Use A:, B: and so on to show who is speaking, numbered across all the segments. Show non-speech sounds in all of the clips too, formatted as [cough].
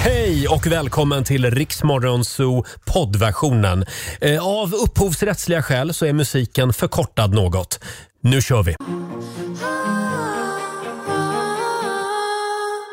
A: Hej och välkommen till Riksmorgonzoo poddversionen. Eh, Av upphovsrättsliga skäl så är musiken förkortad något. Nu kör vi!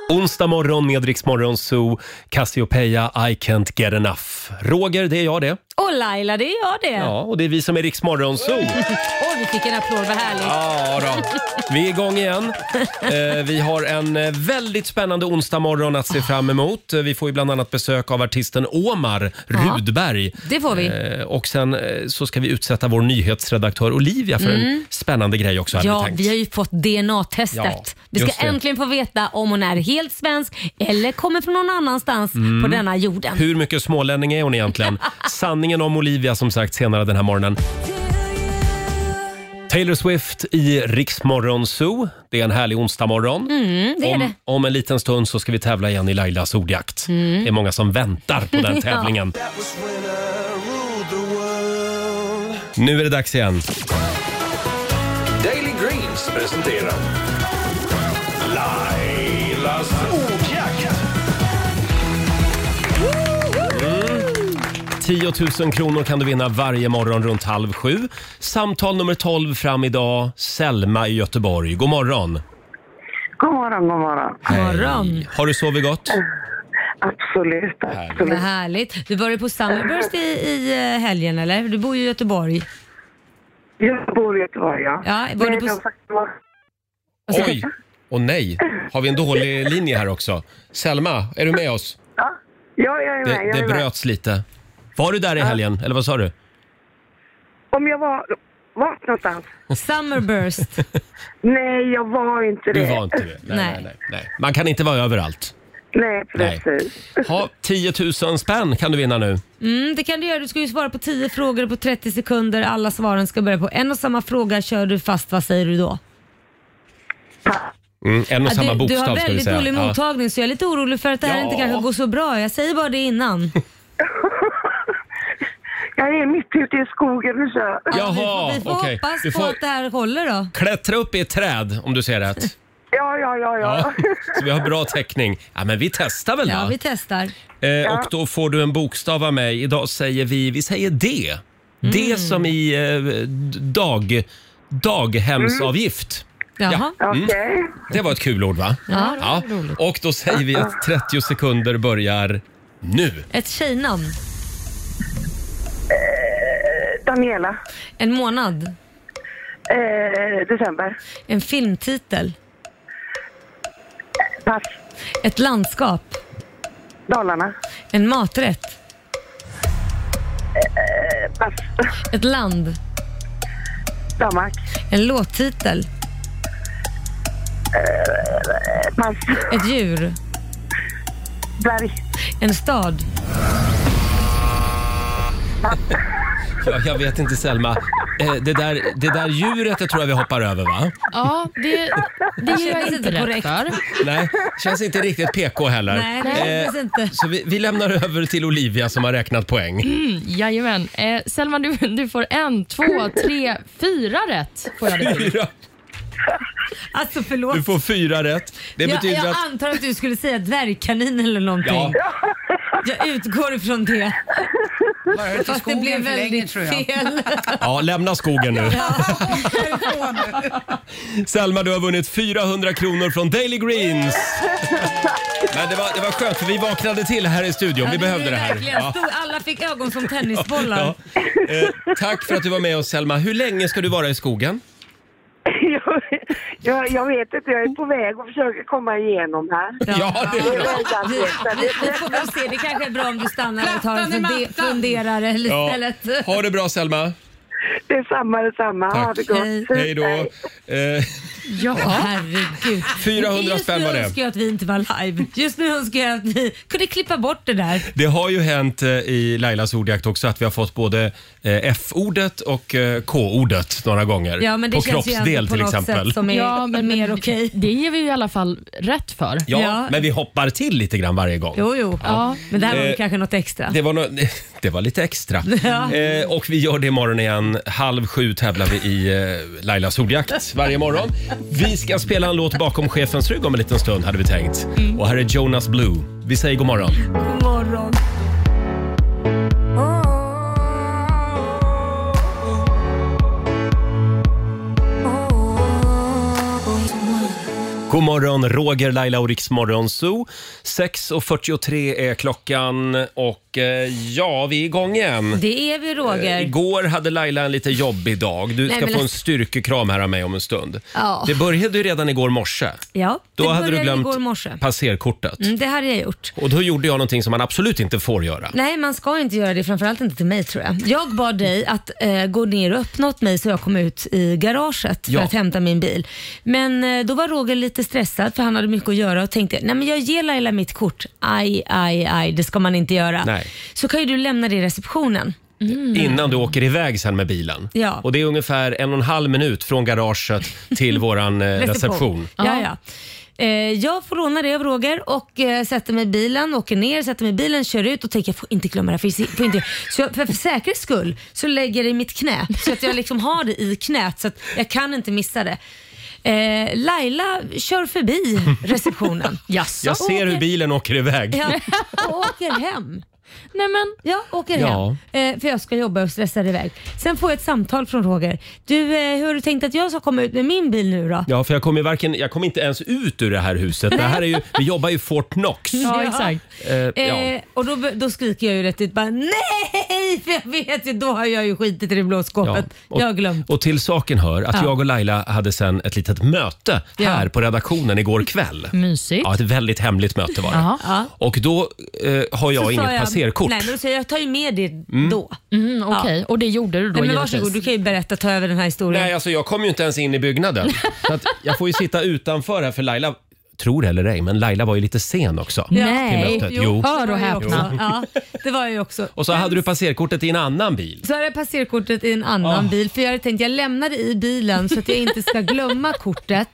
A: Onsdag morgon med Riksmorgonzoo, Cassiopeia, I can't get enough. Roger, det är jag det.
B: Och Laila, det är jag det.
A: Ja, och det är vi som är Riksmorgonzoo.
B: Åh, vi fick en applåd, vad härligt.
A: Ja då. Vi är igång igen. Eh, vi har en eh, väldigt spännande onsdag morgon att se fram emot. Eh, Vi får ju bland annat besök av artisten Omar
B: Ja.
A: Rudberg.
B: Det får vi.
A: Eh, och sen eh, så ska vi utsätta vår nyhetsredaktör Olivia för en
B: Mm.
A: spännande grej också. hade
B: Ja,
A: tänkt.
B: vi har ju fått DNA-testet.
A: Ja,
B: vi ska
A: just det.
B: äntligen få veta om hon är helt svensk eller kommer från någon annanstans
A: Mm.
B: på denna jorden.
A: Hur mycket smålänning är hon
B: [laughs]
A: egentligen? Sanningen om Olivia som sagt senare den här morgonen. Taylor Swift i Riksmorgon Zoo. Det är en härlig onsdagmorgon.
B: Mm, det är
A: om,
B: det.
A: om en liten stund så ska vi tävla igen i Lailas ordjakt.
B: Mm.
A: Det är många som väntar på den
B: [laughs] Ja.
A: tävlingen. Nu är det dags igen.
C: Daily Greens presenterar Lailas ordjakt.
A: 10 000 kronor kan du vinna varje morgon runt halv sju. Samtal nummer 12 fram idag. Selma i Göteborg. God morgon.
D: God morgon, god morgon.
A: Hej. Har du sovit gott?
D: Absolut,
B: Vad
D: absolut.
B: härligt. Du var ju på Summerburst i, i eh, helgen eller? Du bor ju i Göteborg.
D: Jag bor i Göteborg, ja.
B: Ja, var
D: Nej,
B: du på...
D: jag faktiskt var-
A: Oj! Och nej, har vi en dålig linje här också? Selma, är du med oss?
D: Ja, jag är med.
A: Det,
D: jag
A: det
D: är med.
A: bröts lite. Var du där i helgen, eller vad sa du?
D: Om jag var... Vart någonstans?
B: Summerburst.
D: [laughs] Nej, jag var inte
A: Du
D: det.
A: var inte det?
B: Nej.
A: nej. Man kan inte vara överallt.
D: Nej,
A: Nej.
D: precis.
A: Ha, 10 000 spänn kan du vinna nu.
B: Mm, det kan du göra. Du ska ju svara på 10 frågor på 30 sekunder. Alla svaren ska börja på en och samma fråga. Kör du fast, vad säger du då?
A: Mm, en och
B: Ja,
A: samma
B: du, du
A: bokstav ska
B: har
A: vi
B: väldigt
A: säga.
B: dålig mottagning så jag är lite orolig för att det här
A: Ja.
B: inte kanske går så bra. Jag säger bara det innan.
D: Jag är mitt ute i skogen och kör.
A: [laughs]
E: [laughs]
A: Jaha,
B: vi får
A: okej.
B: hoppas
A: Du
B: på
A: får
B: att det här håller då.
A: klättra upp i ett träd om du ser rätt.
D: Ja, ja, ja, ja.
A: Ja, så vi har bra täckning. Ja, men vi testar väl då.
B: Ja, vi testar.
A: Eh, och då får du en bokstav av mig. Idag säger vi, vi säger D.
B: Mm.
A: D som i eh, dag, daghemsavgift.
B: Jaha.
A: Ja. Mm.
D: Okej.
A: Det var ett kul ord va?
B: Ja,
A: Och då säger vi att 30 sekunder börjar nu.
B: Ett
D: Eh,
B: tjejnamn.
D: Daniela.
B: En månad.
D: Eh, december.
B: En filmtitel.
D: Pass.
B: Ett landskap.
D: Dalarna.
B: En maträtt.
D: Eh, pass.
B: Ett land.
D: Danmark.
B: En låttitel.
D: Eh, pass.
B: Ett djur.
D: Berg.
B: En stad.
A: Ja, jag vet inte Selma. Eh, det, där, det där djuret det tror jag vi hoppar över va?
F: Ja, det, det gör
B: Det
F: jag
B: kändes
F: inte
B: inte
F: rätt
B: korrekt.
F: för.
A: Nej, känns inte riktigt PK heller. Eh,
B: Nej, det kändes inte.
A: så vi, vi lämnar över till Olivia som har räknat poäng.
F: Mm, Jajamän. Eh, Selma, du, du får en, två, tre, fyra rätt. Får jag det till.
A: Fyra.
B: Alltså förlåt.
A: Du får fyra rätt. Det
B: jag,
A: betyder
B: jag
A: att...
B: antar att du skulle säga dvärgkanin eller någonting.
A: Ja,
B: Jag utgår ifrån det.
G: Varit i
B: Fast det
G: skogen
B: blev
G: för länge
B: väldigt
G: tror jag.
B: fel.
A: ja, lämna skogen nu. Selma, du har vunnit 400 kronor från Daily Greens. Men det var, det var skönt, för vi vaknade till här i studion. Vi
B: Ja,
A: behövde
B: är
A: det här.
B: verkligen
A: Ja.
B: stor. Alla fick ögon som tennisbollar.
A: Ja. Eh, tack för att du var med oss, Selma. Hur länge ska du vara i skogen?
D: Jag, jag, jag vet inte, jag är på väg och försöker komma igenom här.
A: Ja, det
D: Det
A: är
D: är
A: bra.
B: Vi,
D: väldigt-
B: vi, vi får väl se. Det kanske är bra om du stannar och tar en
G: Plattan i
B: funde
G: mattan.
B: funderare
A: Ja.
B: istället.
A: Ha det bra, Selma.
D: Det är samma, det är samma. Ha
A: Tack.
D: det gott.
B: Hej.
A: Hej då. Eh,
B: Ja, herregud.
A: 400
B: Just
A: spänn
B: nu
A: var det.
B: önskar jag att vi inte var live. Just nu önskar jag att vi kunde klippa bort det där.
A: Det har ju hänt eh, i Lailas ordjakt också att vi har fått både eh, F-ordet och eh, K-ordet några gånger.
B: Ja, men det
A: på
B: känns ju ändå
A: kroppsdel
B: på
A: till
B: något
A: exempel.
B: sätt som är
F: Ja, men-
B: mer okej.
F: Det ger vi ju i alla fall rätt för.
A: Ja,
B: Ja.
A: men vi hoppar till lite grann varje gång.
B: Jo, jo.
F: Ja.
B: Men det här var väl
A: Eh, [laughs]
B: kanske något extra.
A: Det var, nå- det var lite extra.
B: [laughs] Ja.
A: Eh, och vi gör det imorgon igen, halv sju tävlar vi i eh, Lailas ordjakt varje morgon. Vi ska spela en låt bakom chefens rygg om en liten stund hade vi tänkt.
B: Mm.
A: Och här är Jonas Blue. Vi säger god morgon.
B: God morgon.
A: God morgon, Roger, Laila och Riks Morgonzoo. 6.43 är klockan och eh, ja, vi är igång igen.
B: Det är vi
A: Eh,
B: Roger.
A: Igår hade Laila en lite jobbig dag. Du
B: Nej,
A: ska
B: men
A: få en
B: alltså-
A: styrkekram här av mig om en stund.
B: Ja.
A: Det började ju redan igår morse.
B: Ja,
A: Då
B: det
A: hade du
B: började
A: glömt
B: igår morse.
A: passerkortet.
B: Mm, det hade jag gjort.
A: Och då gjorde jag någonting som man absolut inte får göra.
B: Nej, man ska inte göra det, framförallt inte till mig tror jag. Jag bad dig att eh, gå ner och öppna åt mig så jag kom ut i garaget för
A: Ja.
B: att hämta min bil. Men eh, då var Roger lite stressad för han hade mycket att göra och tänkte, nej men jag ger Laila mitt kort. Aj, aj, aj, det ska man inte göra.
A: Nej.
B: Så kan ju du lämna det i receptionen.
A: Innan du åker iväg sen med bilen.
B: Mm. Ja.
A: Och det är ungefär en och en halv minut från garaget till våran
B: [laughs]
A: eh, reception.
B: Ja, ja. Eh, jag får låna det av Roger och eh, sätter mig i bilen, åker ner, sätter mig i bilen, kör ut och tänker jag får inte glömma det här. För, jag får inte. Så jag, för, för säkerhets skull så lägger jag det i mitt knä så att jag liksom har det i knät så att jag kan inte missa det. Eh, Laila
A: [laughs]
B: kör förbi receptionen.
F: Jaså?
A: Jag ser hur bilen åker iväg.
B: Ja, och åker hem.
F: Nej, men,
B: Jag åker
A: Ja.
B: hem eh, för jag ska jobba och stressar iväg. Sen får jag ett samtal från Roger. Du, eh, hur har du tänkt att jag ska komma ut med min bil nu då?
A: Ja, för jag kommer ju varken, jag kommer inte ens ut ur det här huset. Det här är ju, vi jobbar ju i Fort
B: [laughs]
A: Knox.
F: ja, exakt.
A: Eh, ja.
B: Eh, och då, då skriker jag ju rätt ut bara nej, [laughs] för jag vet ju då har jag ju skitit i det blå skåpet.
A: Och,
B: jag har glömt.
A: och till saken hör att
B: Ja.
A: jag och Laila hade sen ett litet möte
B: Ja.
A: här på redaktionen igår kväll.
F: Mysigt.
A: Ja, ett väldigt hemligt möte var det.
F: Jaha.
B: Ja.
A: Och då eh, har jag
B: Så sa
A: inget passerkort.
B: Nej, men då säger jag, jag tar ju med det då.
F: Mm, Okej, och det gjorde du då
B: Nej, men
F: givetvis.
B: varsågod, du kan ju berätta, ta över den här historien.
A: Nej, alltså jag kom ju inte ens in i byggnaden. Så att jag får ju sitta utanför här för Laila, tror eller ej, men Laila var ju lite sen också.
F: Nej.
A: till mötet. Jo.
F: Hör och
B: det var jag
F: häpna.
B: också. Ja, det var jag ju också.
A: Och så hade du passerkortet i en annan bil.
B: Så hade jag passerkortet i en annan
A: Ah.
B: bil för jag hade tänkt jag lämnar det i bilen så att jag inte ska glömma kortet.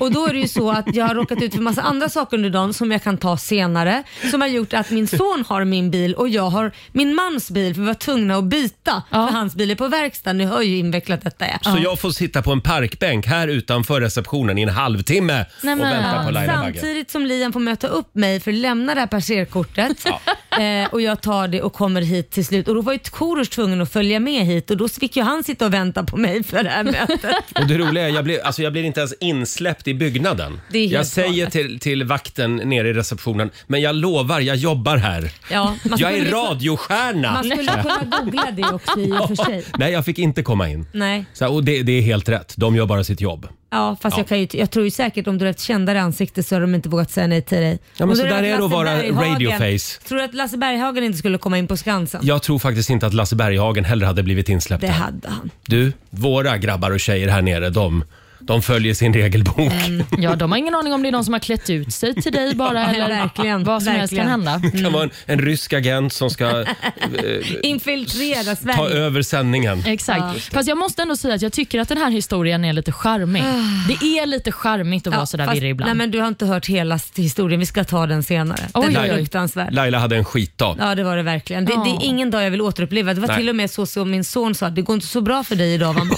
B: Och då är det ju så att jag har råkat ut för massa andra saker under dagen som jag kan ta senare. Som har gjort att min son har min bil och jag har min mans bil för vi var tvungna att byta
F: Ja.
B: för hans bil är på verkstad. Ni hör ju invecklat detta är.
A: Ah. Så jag får sitta på en parkbänk här utanför receptionen i en halvtimme
F: Nej,
A: och
F: men-
A: vänta på Laila Bagge.
B: Samtidigt som Liam får möta upp mig för att lämna det här passerkortet [laughs] eh, och jag tar det och kommer hit till slut. Och då var ju Korosh tvungen att följa med hit och då fick ju han sitta och vänta på mig för det här mötet.
A: Och det roliga är, jag blir, alltså jag blir inte ens insläppt i byggnaden.
B: Det är helt
A: Jag säger
B: galet.
A: till, till vakten nere i receptionen, men jag lovar, jag jobbar här.
B: [laughs] Ja, man
A: Jag är
B: skulle- liksom-
A: radiostjärna!
B: Man
A: [laughs]
B: skulle kunna googla det också i och för sig.
A: Nej, jag fick inte komma in.
B: Nej,
A: Så, och det, det är helt rätt, de gör bara sitt jobb.
B: ja, fast Jag, kan ju, jag tror ju säkert om du har ett kändare ansikte så har de inte vågat säga nej till dig.
A: men
B: Och
A: så
B: då
A: där är
B: det
A: det att
B: Lasse
A: vara
B: Berghagen.
A: radioface.
B: Tror du att Lasse Berghagen inte skulle komma in på Skansen?
A: Jag tror faktiskt inte att Lasse Berghagen heller hade blivit insläppt
B: Det
A: här.
B: hade han.
A: Du, våra grabbar och tjejer här nere, de, de följer sin regelbok.
F: Mm. Ja, de har ingen aning om det är någon som har klätt ut sig till dig
B: [laughs]
F: bara eller
B: verkligen,
F: vad som helst kan
B: verkligen.
F: hända. Mm.
A: Det kan vara en, en rysk agent som ska
F: [laughs]
B: Infiltrera
A: Eh, ta
B: Sverige.
A: över sändningen.
F: Exakt. Fast jag måste ändå säga att jag tycker att den här historien är lite charmig. Det är lite charmigt att vara sådär
B: Ah. fast-
F: virrig ibland.
B: Nej men du har inte hört hela st- historien, vi ska ta den senare.
F: Oj,
B: den
F: oj,
B: är
F: oj.
B: fruktansvärd.
A: Laila hade en skitdag.
B: Ja det var det verkligen. Det, det
F: Ja.
B: är ingen dag jag vill återuppleva. Det var
A: Nej.
B: till och med så som min son sa, det går inte så bra för dig idag
A: [laughs]
B: va mamma?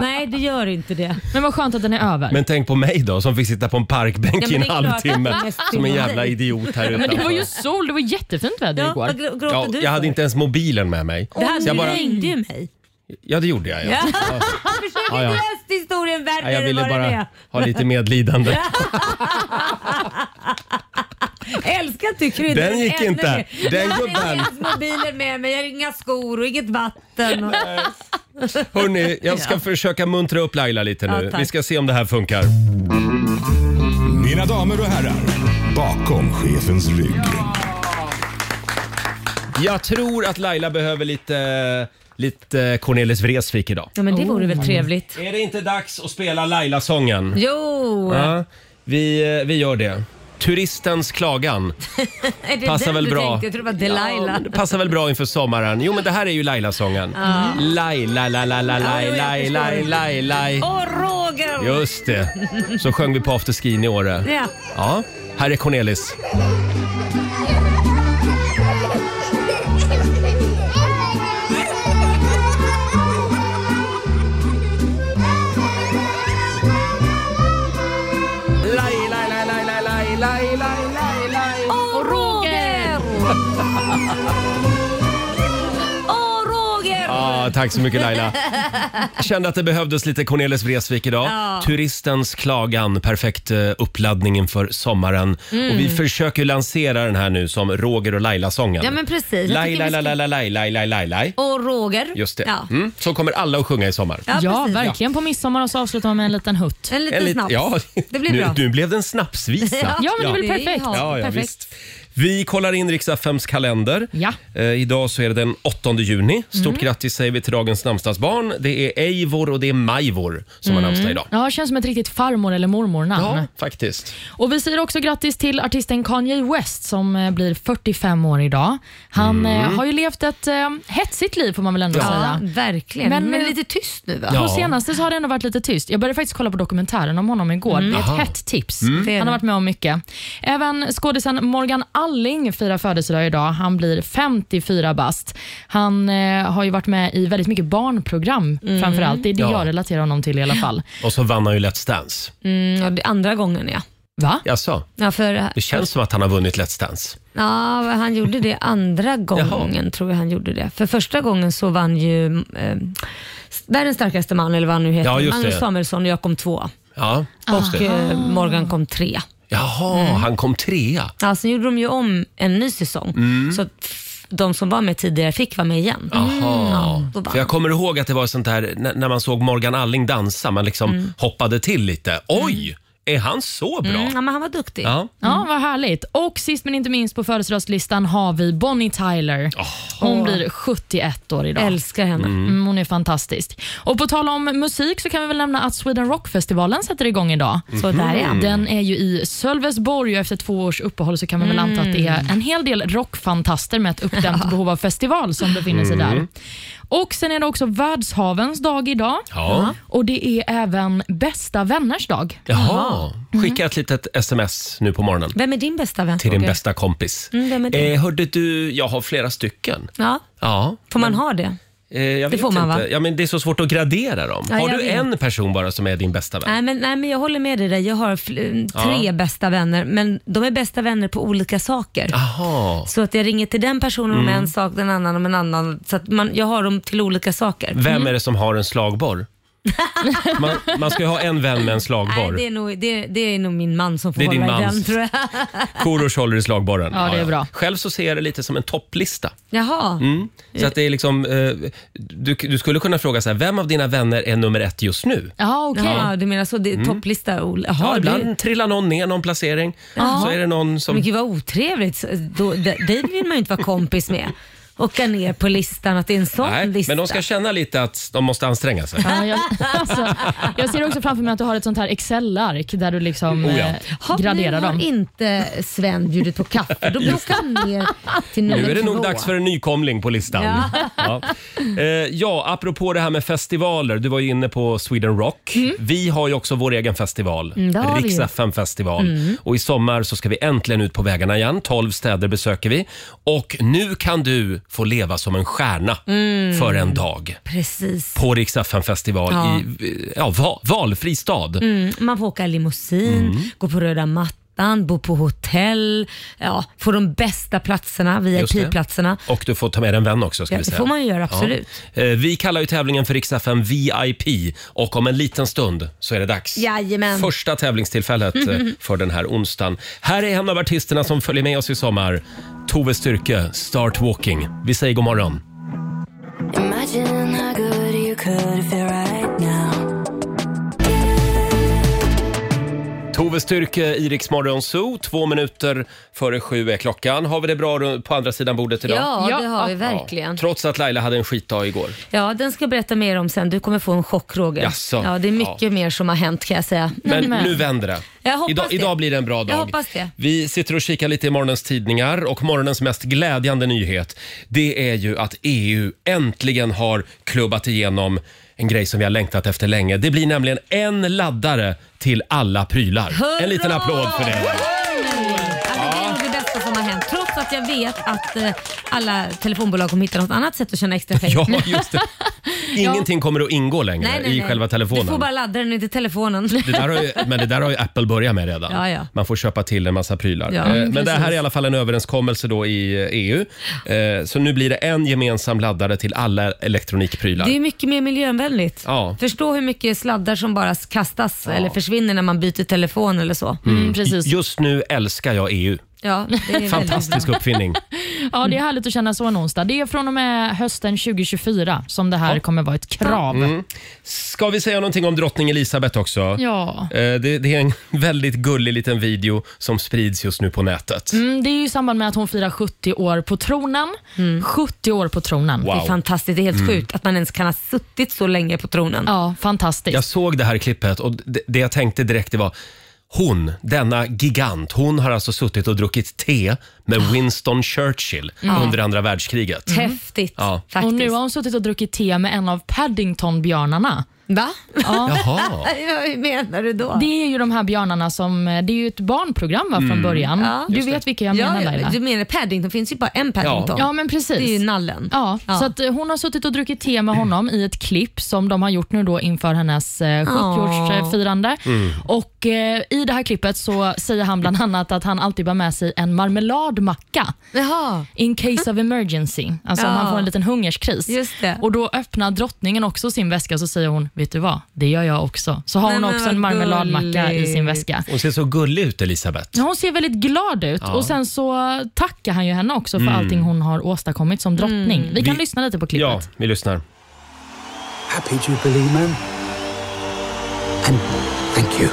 B: Nej det gör inte det.
F: Men vad skönt att den är över.
A: Men tänk på mig då som fick sitta på en parkbänk
B: Ja,
A: i
B: men
A: en
B: det är klart att
A: halvtimme
B: det är [laughs] mest
A: som en
B: synd om
A: jävla
B: dig.
A: idiot här
F: Men det var ju
A: utanför.
F: sol, det var jättefint väder
B: Ja,
F: igår.
B: vad grå- gråter
A: Ja,
B: du
A: jag
B: för?
A: hade inte ens mobilen med mig.
B: Det hade
A: Så jag
B: du
A: bara,
B: ringde ju mig.
A: ja, det gjorde jag. Ja.
B: [laughs] Försök
A: Ja, ja.
B: inte läsa historien
A: Nej,
B: värre
A: jag
B: än
A: ville
B: vad den
A: bara
B: är.
A: ha lite medlidande.
B: [laughs] Älskar att du kryddar
A: Den gick
B: ännu
A: inte.
B: mer.
A: Den
B: jag hade
A: gubben.
B: inte ens mobilen med mig, jag har inga skor och inget vatten. Och...
A: Hörni, jag ska försöka muntra upp Laila lite
B: Ja,
A: nu.
B: tack.
A: Vi ska se om det här funkar.
C: Mina damer och herrar, bakom chefens rygg.
A: Jag tror att Laila behöver lite, lite Cornelis Vreeswijk idag.
B: Ja men det vore väl trevligt.
A: Är det inte dags att spela Laila-sången?
B: Jo!
A: Ja, vi, vi gör det. Turistens klagan.
B: [laughs] Är det
A: Passar
B: den
A: väl
B: du
A: bra.
B: Tänkte? Jag trodde det var Delilah.
A: Ja, det passar väl bra inför sommaren. Jo, men det här är ju Laila-sången. Laila, la, la, la, la, la, la, la, la.
B: Åh Roger!
A: Just det. Så sjöng vi på afterskin i Åre.
B: Ja.
A: Ja, här är Cornelis.
G: Thank you.
B: Åh, Roger! Åh, Roger!
A: Ja, tack så mycket Laila. Kände att det behövdes lite Cornelis Vreeswijk idag.
B: Ja.
A: Turistens klagan, perfekt eh, uppladdning inför sommaren.
B: Mm.
A: Och vi försöker lansera den här nu som Roger och Laila-sången.
B: Ja, men precis. Jag tycker
A: Laila,
B: vi ska-
A: Laila, Laila, Laila, Laila.
B: Och Roger.
A: Just det.
B: Ja.
A: Mm. Så kommer alla att sjunga i sommar.
B: Ja,
F: Ja,
B: precis.
F: verkligen på midsommar och så avslutar man med en liten hutt.
B: En liten
A: En lit-
B: snaps.
A: ja.
B: Det blir
A: nu,
B: bra.
A: nu blev det en snapsvisa.
F: Ja, men det är väl
B: Ja.
F: perfekt.
B: Ja.
A: Ja, ja,
B: Perfekt.
A: visst. Vi kollar in Riks-FMs kalender.
F: Ja.
A: Eh, idag så är det den 8 juni. Stort
B: Mhm.
A: grattis säger vi till dagens namnsdagsbarn. Det är Eivor och det är Majvor som
B: Mm.
A: har namnsdag idag.
F: Mm. Ja, känns som ett riktigt farmor eller mormornamn.
A: Ja, faktiskt.
F: Och Vi säger också grattis till artisten Kanye West som eh, blir 45 år idag. Han eh, har ju levt ett eh, hetsigt liv får man väl ändå
B: Mm. Ja,
F: säga.
B: verkligen. Men,
F: Men- eh,
B: lite tyst nu va?
A: Ja.
F: På senaste så har det ändå varit lite tyst. Jag började faktiskt kolla på dokumentären om honom igår. Det är ett hett tips.
B: Mm. Det är
F: Han har
B: det.
F: varit med om mycket. Även skådisen Morgan Alling firar födelsedag idag. Han blir 54 bast. Han eh, har ju varit med i väldigt mycket barnprogram
B: Mm.
F: framförallt. Det är det
A: Ja.
F: jag relaterar honom till i alla fall.
A: Och så vann han ju Let's Dance.
B: Mm, ja, det är andra gången ja.
F: Va?
A: Jaså,
B: Ja, för,
A: det känns som att han har vunnit Let's Dance.
B: ja, han gjorde det andra gången tror jag han gjorde det. För första gången så vann ju eh, Världens starkaste man, eller vad han nu heter,
A: Ja, just
B: Magnus
A: det.
B: Samuelsson och jag kom två
A: Ja, just
B: och
A: det.
B: eh, Morgan kom tre. Mm.
A: Jaha, han kom trea.
B: Ja, sen gjorde de ju om en ny säsong så att f- de som var med tidigare fick vara med igen.
A: Mm.
B: Mm,
A: Jaha.
B: då vann
A: För jag kommer ihåg att det var sånt här när, när man såg Morgan Alling dansa, man liksom hoppade till lite. Oj, är han så bra?
B: Mm, ja, men han var duktig.
A: Ja. Mm.
F: Ja, vad härligt. Och sist men inte minst på födelsedagslistan har vi Bonnie Tyler. Hon blir 71 år idag.
B: Älskar henne.
F: Mm, hon är fantastisk. Och på tal om musik så kan vi väl nämna att Sweden Rock-festivalen sätter igång idag. Mm.
B: Så där är han.
A: Mm.
F: Den är ju i Sölvesborg och efter två års uppehåll så kan man väl
B: Mm.
F: anta att det är en hel del rockfantaster med ett
B: [laughs]
F: uppdämt behov av festival som befinner sig
A: Mm.
F: där. Och Sen är det också världshavens dag idag.
A: Ja.
F: Och Det är även bästa vänners dag.
A: Jaha. Skicka ett litet sms nu på morgonen
B: Vem är din bästa vän?
A: till din
B: Roger?
A: bästa kompis.
B: Mm, vem är det?
A: Eh, hörde du, jag har flera stycken.
B: Ja,
A: Ja.
B: får man ha det?
A: Eh, jag
B: Det
A: vet
B: får man,
A: inte.
B: va?
A: Ja, men det är så svårt att gradera dem.
B: Ja,
A: har
B: jag
A: du
B: vet.
A: en person bara som är din bästa vän?
B: Nej men, nej, men jag håller med dig. där. Jag har fl- tre bästa vänner, men de är bästa vänner på olika saker.
A: Jaha. Mm.
B: Så att jag ringer till den personen om en sak, den annan om en annan. Så att man, jag har dem till olika saker. Mm.
A: Vem är det som har en slagborr?
B: [laughs]
A: Man, man ska ju ha en vän med en
B: Nej,
A: slagborr.
B: det, är nog, det, det är nog min man som får
A: Det är din
B: hålla i den
A: mans.
B: tror jag. [laughs]
A: Korosh håller i slagborren.
F: Ja, det är bra.
A: Själv så ser jag det lite som en topplista.
B: Jaha.
A: Mm. Så att det är liksom, eh, du, du skulle kunna fråga så här, vem av dina vänner är nummer ett just nu?
F: Ja, okej.
B: Jaha, du menar så, det är topplista? Ol- Jaha,
A: Mm. Ja,
B: det-
A: ibland trillar någon ner någon placering. Så är det någon som...
B: Men gud vad otrevligt. Så- Då, d- dig vill man ju inte vara kompis med. Åka ner på listan, att det är en sån
A: Nej,
B: lista.
A: men de ska känna lite att de måste anstränga sig.
F: Ja, jag, alltså, jag ser också framför mig att du har ett sånt här Excel-ark där du liksom
A: Oh ja.
F: eh,
B: Ha, nu
F: graderar
B: har
F: dem.
B: inte Sven bjudit på kaffe. Då blir han ner [laughs] till nummer
A: Nu är det nog
B: två.
A: dags för en nykomling på listan. Ja. [laughs] Ja. Eh, ja, apropå det här med festivaler. Du var ju inne på Sweden Rock. Vi har ju också vår egen festival,
F: Mm, det har vi ju. Mm.
A: Rix FM festival. Och i sommar så ska vi äntligen ut på vägarna igen. 12 städer besöker vi. Och nu kan du få leva som en stjärna
F: Mm.
A: för en dag
B: Precis.
A: på Rix FM festival
B: Ja.
A: i eh, ja, va, valfri stad.
B: Mm, man får åka limousin,
A: Mm.
B: gå på röda mattan, bo på hotell, ja, få de bästa platserna,
A: Just det.
B: VIP-platserna.
A: Och du får ta med en vän också. Ska
B: Ja,
A: vi
B: det
A: säga.
B: får man ju göra, absolut.
A: Ja. Eh, Vi kallar ju tävlingen för Rix FM VIP och om en liten stund så är det dags.
B: Jajamän.
A: Första tävlingstillfället
B: [laughs]
A: eh, för den här onsdagen. Här är en av artisterna som följer med oss i sommar. Tove Styrke, Start Walking. Vi säger god morgon.
G: Imagine how good you could feel right now.
A: Tove Styrke, Iriks Zoo. Två minuter före sju är klockan. Har vi det bra ru- på andra sidan bordet idag?
B: Ja,
F: Ja.
B: det har vi verkligen.
A: Trots att Laila hade en skitdag igår.
B: Ja, den ska jag berätta mer om sen. Du kommer få en chock, Roger.
A: Jaså?
B: Ja, det är mycket
A: Ja.
B: mer som har hänt kan jag säga.
A: Men nu vänder det.
B: Jag hoppas
A: idag,
B: det.
A: idag blir det en bra dag.
B: hoppas det.
A: Vi sitter och kikar lite i morgonens tidningar och morgonens mest glädjande nyhet det är ju att EU äntligen har klubbat igenom en grej som vi har längtat efter länge. Det blir nämligen en laddare till alla prylar.
B: Hurra!
A: En liten applåd för det.
B: Alltså, Det är nog det bästa som har hänt. Trots
A: [laughs]
B: att jag vet att eh, alla telefonbolag kommer hitta något annat sätt att tjäna extra pengar.
A: Ja, just det. Ingenting kommer att ingå längre
B: Nej, nej,
A: i
B: nej.
A: själva telefonen.
B: Du får bara ladda den, inte telefonen.
A: Det där har ju, men det där har ju Apple börjat med redan.
B: Ja, ja.
A: Man får köpa till en massa prylar.
B: Ja,
A: Eh, men
B: precis.
A: det här är i alla fall en överenskommelse då i eh, EU. Eh, Så nu blir det en gemensam laddare till alla elektronikprylar.
B: [laughs] Det är mycket mer miljövänligt.
A: Ja.
B: Förstå hur mycket sladdar som bara kastas eller försvinner när man byter telefon eller så.
F: Mm, precis.
A: Just nu älskar jag EU.
B: Ja, det är
A: Fantastisk
F: [laughs]
A: uppfinning.
F: Ja, det är härligt att känna så en onsdag. Det är från och med hösten 2024 som det här kommer vara ett krav.
A: Mm. Ska vi säga någonting om drottning Elisabeth också?
F: Ja.
A: Eh, Det, det är en [laughs] väldigt gullig liten video som sprids just nu på nätet.
F: Mm, det är ju i samband med att hon firar 70 år på tronen. 70 år på tronen.
B: Mm. Det är
A: Wow. Mm.
B: fantastiskt. Det är helt sjukt att man ens kan ha suttit så länge på tronen.
F: Ja, fantastiskt.
A: Jag såg det här klippet och det, det jag tänkte direkt det var hon, denna gigant, hon har alltså suttit och druckit te med
F: Ah.
A: Winston Churchill under andra världskriget.
B: Häftigt
A: Ja.
B: faktiskt.
F: Mm. Och nu har hon suttit och druckit te med en av Paddington-björnarna.
B: Va?
F: Ja.
B: [laughs]
A: Jaha.
B: Hur menar du då?
F: Det är ju de här björnarna som... eh, Det är ju ett barnprogram va,
A: Mm.
F: från början.
B: Ja.
F: Du vet vilka jag menar
B: ja,
F: Laila.
B: Du menar Paddington? Det finns ju bara en Paddington.
F: Ja, men precis.
B: Det är ju nallen.
F: Ja, så att eh, hon har suttit och druckit te med honom i ett klipp som de har gjort nu då inför hennes eh, 70-årsfirande. Och eh, I det här klippet så säger han bland annat att han alltid bär med sig en marmeladmacka
B: Jaha.
F: in case of emergency, alltså om
B: Ja.
F: han får en liten hungerskris.
B: Just det.
F: Och Då öppnar drottningen också sin väska så säger hon, vet du vad, det gör jag också. Så har
B: Nej,
F: hon
B: men
F: också
B: vad
F: en marmeladmacka i sin
B: gulligt.
F: väska.
A: Hon ser så gullig ut, Elisabeth.
F: Hon ser väldigt glad ut och sen så tackar han ju henne också för allting hon har åstadkommit som drottning.
B: Mm.
F: Vi kan
A: Vi-
F: lyssna lite på klippet.
A: Ja, vi lyssnar.
H: Happy Jubilee, Mum. And thank you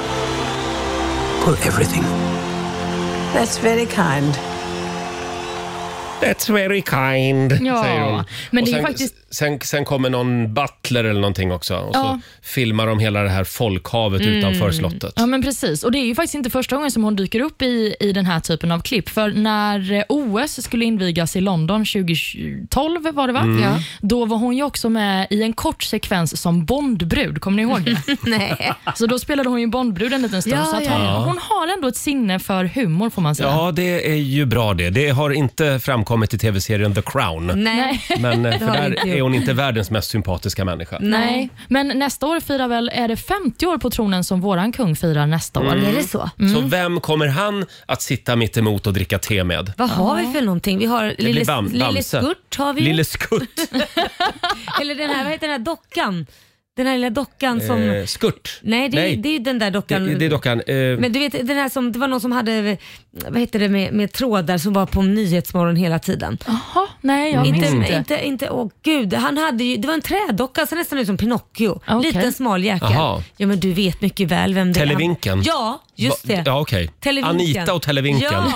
H: for everything.
I: That's very kind.
A: That's very kind,
F: Ja,
A: säger hon.
F: men
A: Och
F: det är
A: sen,
F: faktiskt-
A: sen, sen kommer någon butler eller någonting också och
F: Ja. Mm.
A: så filmar de hela det här folkhavet utanför slottet.
F: Ja men precis, och det är ju faktiskt inte första gången som hon dyker upp i, i den här typen av klipp. För när eh, OS skulle invigas i London 2012 var det va?
B: Mm. Ja.
F: Då var hon ju också med i en kort sekvens som Bondbrud, kommer ni ihåg det?
B: [laughs] Nej.
F: så då spelade hon ju Bondbrud en liten stund.
B: Ja,
F: så att
B: ja,
F: hon,
A: ja.
F: hon har ändå ett sinne för humor får man säga.
A: Ja, det är ju bra det. Det har inte framkommit i tv-serien The Crown.
B: Nej.
A: Men
F: [laughs]
A: eh, för
B: har det
A: där
B: inte
A: är
B: gjort.
A: hon inte världens mest sympatiska människa.
F: Nej, men nästa år firar väl, är det 50 år på tronen som våran kung firar nästa år?
B: Mm.
F: Mm.
B: Är det så?
A: Mm. Så vem kommer han att sitta mitt emot och dricka te med?
B: Vad har vi för någonting? Vi har Lille,
A: blir Bam-
B: Lille
A: Bamse.
B: Skurt har vi ju.
A: Lille Skutt.
B: Eller den här, vad heter den här dockan? Den här lilla dockan som...
A: Eh, skurt.
B: nej, det, är-
A: nej.
B: det är ju den där dockan.
A: Det, det är dockan. Eh,
B: Men du vet, den här som, det var någon som hade, vad heter det, med, med trådar som var på Nyhetsmorgon hela tiden.
F: Jaha, nej jag minns
B: Inte,
F: inte.
B: inte, inte, åh gud, han hade ju, det var en trädocka, så nästan ut som Pinocchio.
F: Ah, Okej.
B: Liten smal jäkel.
A: Jaha.
B: Ja men du vet mycket väl vem det
A: Televinken.
B: är. Ja, just
A: va-
B: det.
A: Ja, okej.
B: Televinken.
A: Anita och Televinken. Ja,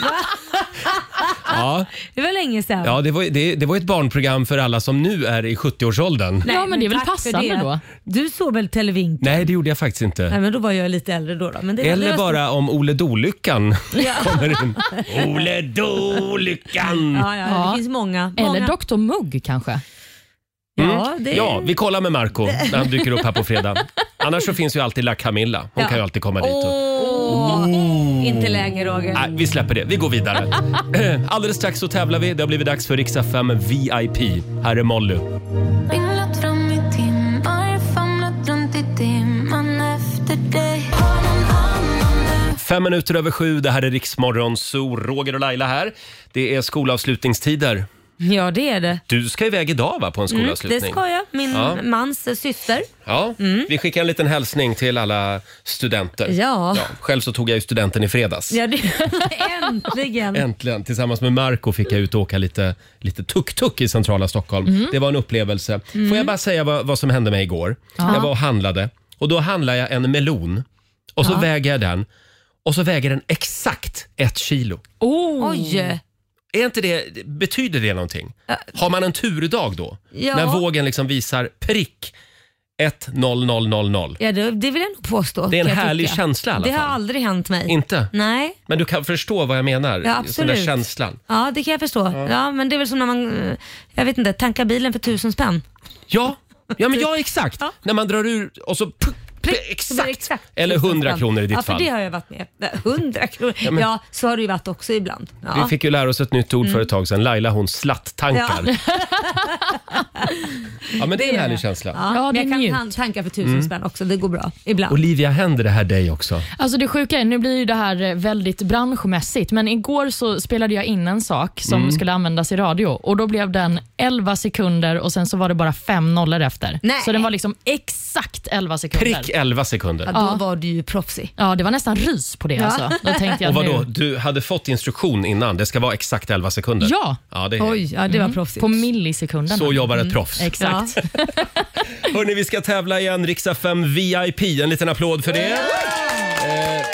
B: Ja,
A: ja.
B: det var länge sedan.
A: det, var, det, det var ett barnprogram för alla som nu är i 70-årsåldern. Nej.
F: Ja, men det är väl
B: tack för
F: passande
B: det.
F: då.
B: Du såg väl Televinken?
A: det gjorde jag faktiskt
B: Nej
A: inte.
B: men då var jag lite äldre då. då. Men det, det
A: Eh. Eller
B: var
A: bara om Ole Dolyckan [laughs] kommer in. Ole Dolyckan!
B: Ja, ja,
F: Ja.
B: det finns många. många.
F: Eller Dr Mugg kanske?
B: Ja, det är...
A: Mm. Ja, vi kollar med Marco när han dyker upp här på fredag.
B: [laughs]
A: Annars så finns ju alltid La Camilla. Hon
B: Ja.
A: kan ju alltid komma dit. Och...
B: Åh, Inte längre Roger.
A: Nej, vi släpper det. Vi går vidare. [clears throat] Alldeles strax så tävlar vi. Det har blivit dags för Riksdag 5 VIP. Här är Molly.
G: Vinglat fram i timmar, famlat runt i dimman efter dig. Har någon annan nu?
A: Fem minuter över sju. Det här är Riksmorgon Zoo. Roger och Laila här. Det är skolavslutningstider.
B: Ja, det är det.
A: Du ska iväg idag va, på en skolavslutning?
B: Mm, Det ska jag. Min Mm.
A: Ja.
B: mans eh, syster.
A: Ja, vi skickar en liten hälsning till alla studenter.
B: Ja.
A: själv så tog jag ju studenten i fredags.
B: Ja, det... [laughs] Äntligen.
A: Äntligen. Tillsammans med Marco fick jag ut och åka lite, lite tuk-tuk i centrala Stockholm.
B: Mm.
A: Det var en upplevelse. Får jag bara säga vad, vad som hände mig igår? Jag var och handlade och då handlade jag en melon och så väger jag den och så väger den exakt ett kilo.
F: Oh.
B: Oj.
A: Är inte det, betyder det någonting? Har man en turdag då?
B: Ja.
A: När vågen liksom visar prick 10000.
B: Ja, det, det vill jag nog påstå.
A: Det är en
B: kan jag
A: härlig
B: tycka.
A: känsla i alla
B: Det har
A: fall.
B: aldrig hänt mig.
A: Inte?
B: Nej.
A: Men du kan förstå vad jag menar?
B: Ja,
A: Just Den där
B: absolut.
A: känslan.
B: Ja, det kan jag förstå. Ja. men det är väl som när man, eh, jag vet inte, tankar bilen för tusen spänn.
A: Ja, ja men ja exakt. När man drar ur och så puff,
B: prick, så blir
A: Exakt.
B: det exakt.
A: Eller 100 kronor i ditt
B: ja,
A: fall.
B: för det har jag varit med. [laughs] 100 kronor. Ja,
A: men-
B: så har det ju varit också ibland. Ja. Mm.
A: Vi fick ju lära oss ett nytt ord för ett tag sedan. Laila hon slatt-tankar. Ja. men det Mm. är en härlig känsla.
B: Ja,
F: Ja,
B: men
F: det
B: jag kan
F: njut.
B: tan- tanka för tusen spänn också. Det går bra ibland.
A: Olivia, händer det här dig också?
F: Alltså det sjuka är, nu blir ju det här eh, väldigt branschmässigt, men igår så spelade jag in en sak som
A: Mm.
F: skulle användas i radio och då blev den 11 sekunder och sen så var det bara fem nollor efter.
B: Nej.
F: Så den var liksom exakt 11 sekunder.
A: Prick 11 sekunder.
B: Ja, då var du ju proffsig.
F: Ja, det var nästan rys på det alltså. Då tänkte jag
A: Och vadå,
F: nu.
A: du hade fått instruktion innan. Det ska vara exakt 11 sekunder.
F: Ja. Mm.
A: ja det är.
B: Oj, ja, det var proffsigt.
F: På
B: Mm.
F: millisekunden.
A: Så jobbar ett proffs.
F: Exakt. [laughs]
A: Hörni, vi ska tävla igen. Riksdag 5 VIP. En liten applåd för det. Eh,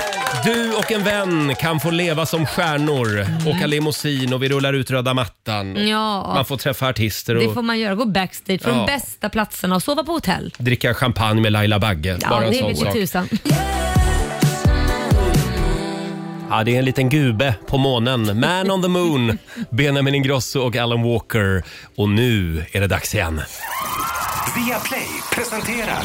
A: Du och en vän kan få leva som stjärnor, åka limousin och vi rullar ut röda mattan.
B: [laughs] Mm. Ja.
A: Man får träffa artister
B: Det
A: och
B: får man göra. Gå backstage från
A: Ja.
B: de bästa platserna och sova på hotell.
A: dricka champagne med Laila Bagge.
B: Ja,
A: Bara en
B: det
A: sån
B: vet ju
A: sak.
B: tusan.
A: Ja, det är en liten gube på månen. Man on the
B: [laughs]
A: moon. Benjamin Ingrosso och Alan Walker. Och nu är det dags igen.
C: Via Play presenterar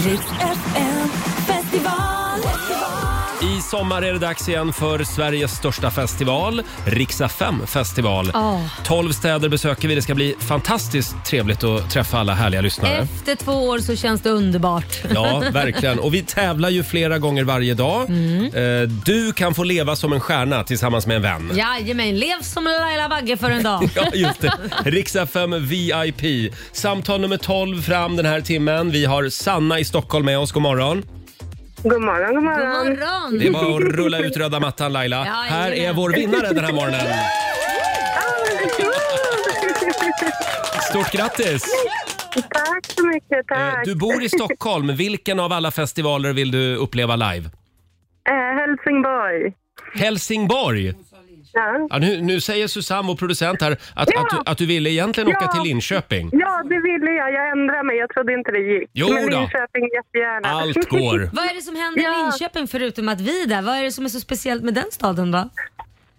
A: I sommar är det dags igen för Sveriges största festival, Riksa 5 festival.
F: Ja.
A: 12 städer besöker vi. Det ska bli fantastiskt trevligt att träffa alla härliga lyssnare.
B: Efter två år så känns det underbart.
A: Ja, verkligen. Och vi tävlar ju flera gånger varje dag.
B: Mm.
A: Eh, Du kan få leva som en stjärna tillsammans med en vän.
B: [laughs] Jajamän, lev som Laila Bagge för en dag.
A: [laughs] Ja, just det. Riksdag 5 VIP. Samtal nummer 12 fram den här timmen. Vi har Sanna i Stockholm med oss. God morgon.
D: God morgon, god
B: God
D: morgon.
B: morgon!
A: Det är bara att rulla ut röda mattan Laila.
B: Ja,
A: här
B: jajamän.
A: är vår vinnare den här morgonen.
D: Ah,
A: Stort grattis!
D: Tack så mycket,
A: Eh,
D: tack.
A: Du bor i Stockholm. Vilken av alla festivaler vill du uppleva live?
D: Eh, Helsingborg.
A: Helsingborg!
D: Ja.
A: Ja, nu, nu säger Susanne, vår producent här, att,
D: Ja.
A: att, du, att du ville egentligen åka
D: Ja.
A: till Linköping.
D: ja, det ville jag. Jag ändrade mig. Jag trodde inte det gick.
A: Jo
D: Men
A: då.
D: Linköping jättegärna.
A: Allt går.
B: Vad är det som händer i
D: Ja.
B: Linköping förutom att vi är där? Vad är det som är så speciellt med den staden då?
D: [laughs]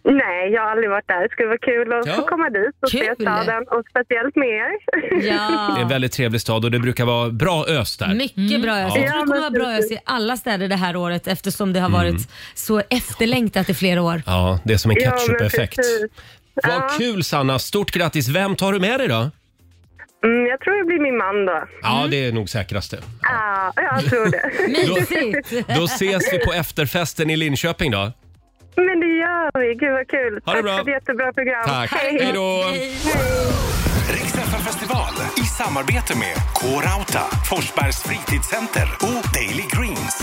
D: Nej, jag har aldrig varit där. Det skulle vara kul att
A: Ja.
D: få komma dit och se
B: Kul.
D: staden. Och speciellt med er.
A: Det är en
B: Ja,
A: väldigt trevlig stad och det brukar vara bra ös där.
B: mycket bra ös. Jag tror det kommer vara bra ös i alla städer det här året eftersom det har
A: Mm.
B: varit så efterlängtat i flera år.
A: Ja, det är som en
D: Ja, men
A: ketchup-effekt.
D: [laughs] precis.
A: Vad
D: Ja.
A: kul Sanna! Stort grattis! Vem tar du med dig då?
D: Mm, jag tror det blir min man då.
A: Ja,
B: Mm.
A: det är nog säkraste.
D: Ja, jag tror det.
B: [laughs] Mysigt!
A: Då ses vi på efterfesten i Linköping då.
D: Men det gör vi. Gud vad kul.
A: Ha det
D: Tack
A: bra.
D: för ett jättebra program.
A: Tack! Hej då!
C: Riksfn festival i samarbete med K-Rauta, Forsbergs fritidscenter och Daily Greens.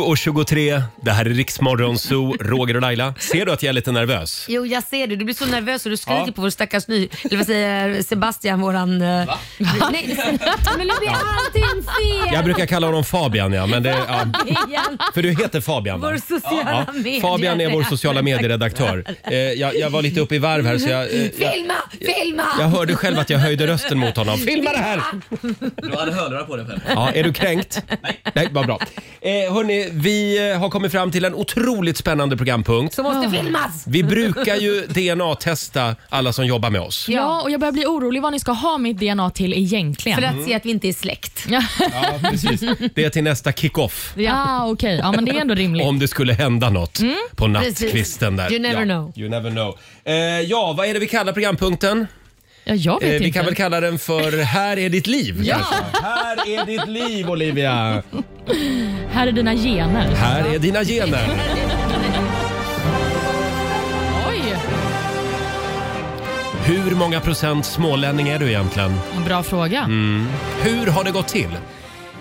A: [laughs] och 23. det här är Riksmorgon Zoo, Roger och Laila. Ser du att jag är lite nervös?
B: Jo, jag ser det. Du blir så nervös och du skriker
A: Ja.
B: på vår stackars ny... Eller vad säger Sebastian, våran... eh, [laughs] Nej, men nu blir allting fel!
A: Jag brukar kalla honom Fabian, ja. Men det, ja.
B: [laughs] Igen.
A: För du heter Fabian, va?
B: Vår sociala medier.
A: Fabian är vår sociala medieredaktör. Eh, jag, jag var lite uppe i varv här så jag, eh, jag,
B: [laughs] Filma! Filma!
A: jag hörde själv att jag höjde rösten mot honom. Filma det här!
J: Du hade hörlurar på dig själv.
A: Ja, är du kränkt? Nej. Nej, vad bra. Eh, hörni, vi eh, har kommit fram till en otroligt spännande programpunkt.
B: Som måste filmas!
A: Vi brukar ju DNA-testa alla som jobbar med oss.
F: Ja, och jag börjar bli orolig vad ni ska ha mitt DNA till egentligen.
B: För att se att vi inte är släkt.
F: Ja,
A: Ja,
F: [laughs]
A: precis. Det är till nästa kick-off.
F: ah, okej. Ja, men det är ändå rimligt. Mm.
A: Om det skulle hända något på nattkvisten där.
B: Precis. You never
A: ja,
B: know.
A: You never know. Eh, ja, vad är det vi kallar programpunkten?
F: Ja, jag vet
A: Eh, vi
F: inte.
A: kan väl kalla den för Här är ditt liv.
F: Ja.
A: kanske. Här är ditt liv Olivia.
F: Här är dina gener.
A: Här är dina gener.
F: Oj,
A: Hur många procent smålänning är du egentligen? Mm.
F: en bra fråga.
A: Hur har det gått till?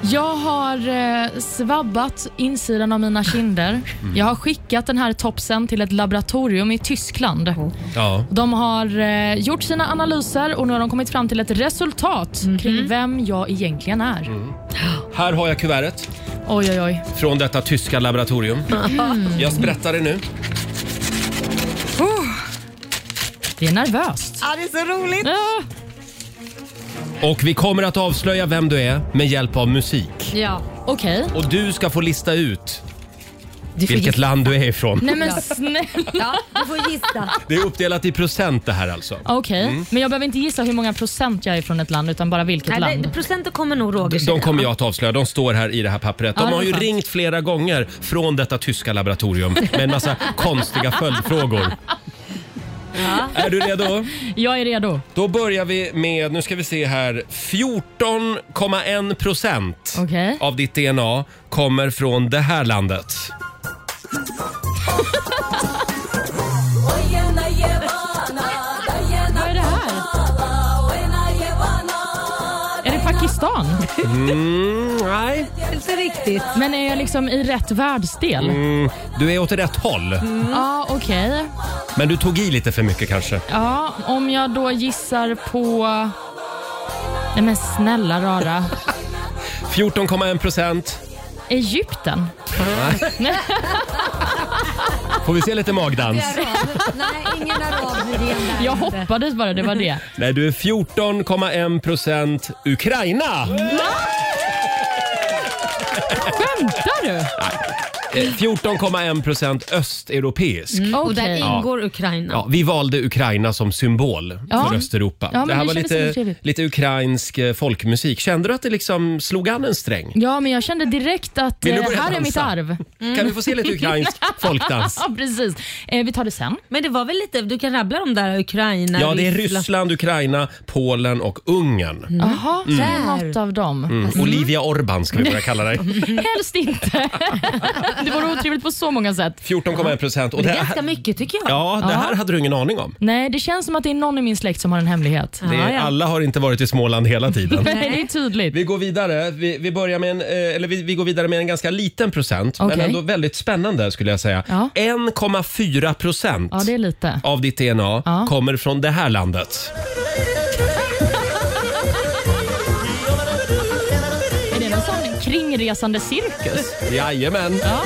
F: Jag har eh, svabbat insidan av mina kinder.
A: Mm.
F: Jag har skickat den här topsen till ett laboratorium i Tyskland.
B: Oh.
A: Ja.
F: De har eh, gjort sina analyser och nu har de kommit fram till ett resultat
B: Mhm.
F: kring vem jag egentligen är.
A: Här har jag kuvertet
F: Oj, oj, oj.
A: från detta tyska laboratorium.
B: Mm.
A: Jag sprättar det nu.
F: Det är nervöst.
B: Ja, det är så roligt!
F: Ah,
A: Och vi kommer att avslöja vem du är med hjälp av musik.
B: Ja.
F: Okej,
A: Och du ska få lista ut
B: Du får
A: Vilket
B: gissa.
A: land du är ifrån.
F: Nej men snälla.
B: Ja, du får gissa.
A: Det är uppdelat i procent det här alltså.
F: Okej, men jag behöver inte gissa hur många procent jag är från ett land utan bara vilket
B: Nej,
F: land.
B: det- procenten kommer nog Roger
A: De- De
B: säga.
A: kommer jag att avslöja. De står här i det här pappret.
F: Ja,
A: De
F: det
A: har
F: är
A: ju
F: sant.
A: ringt flera gånger från detta tyska laboratorium med en
F: [laughs]
A: massa konstiga följdfrågor. Är du redo?
F: Jag är redo.
A: Då börjar vi med, nu ska vi se här, 14,1 procent
F: Okej.
A: av ditt DNA kommer från det här landet.
F: Vad är det här? Är det Pakistan?
A: Nej.
B: Inte riktigt.
F: Men är jag liksom i rätt världsdel?
A: Mm. Du är åt rätt håll,
F: Ja, okej.
A: men du tog i lite för mycket kanske.
F: Ja, om jag då gissar på... Nej men snälla rara.
A: 14,1 procent.
F: Egypten?
A: Får vi se lite magdans?
B: Nej, ingen arab.
F: Jag hoppades bara det var det.
A: Nej, du är 14,1 procent Ukraina.
F: Skämtar du?
A: Eh, 14,1 procent östeuropeisk.
B: Mm. Och där
F: Mm. Okej.
B: ingår Ukraina.
A: Ja, vi valde Ukraina som symbol
F: Ja.
A: för Östeuropa.
F: Ja, men
A: det här
F: det
A: var
F: kändes ju
A: lite,
F: trevligt.
A: lite ukrainsk eh, folkmusik. Kände du att det liksom slog an en sträng?
F: Ja, men jag kände direkt att
A: Vill du
F: eh,
A: börja
F: här är
A: dansa?
F: mitt arv. Mm.
A: Kan vi få se lite ukrainsk
F: [laughs]
A: folkdans?
F: Ja, precis. Eh, vi tar det sen.
B: Men det var väl lite, du kan rabbla de där Ukraina,
A: Ja, det är Ryssland, Ukraina, Polen och Ungern.
F: Mm. Jaha, så är det något av dem. Alltså.
A: Mm. Olivia Orban ska vi börja kalla
F: [laughs]
A: dig.
F: Helst inte. Det vore otrevligt på så många sätt.
A: 14,1 procent. Och
B: Det
A: det
B: är ganska
A: här,
B: mycket tycker jag.
A: ja, det här hade du ingen aning om.
F: Nej, det känns som att det är någon i min släkt som har en hemlighet.
A: Det,
B: Ja, ja.
A: Alla har inte varit i Småland hela tiden.
F: Nej, det är tydligt.
A: Vi går vidare. Vi, vi, börjar med en, eh, eller vi, vi går vidare med en ganska liten procent, men
F: Okej.
A: ändå väldigt spännande skulle jag säga.
F: Ja.
A: 1,4 procent
F: Ja, det är lite.
A: av ditt DNA
F: Ja.
A: kommer från det här landet.
F: Är det någon sån kringresande cirkus?
A: Jajamän.
F: Ja.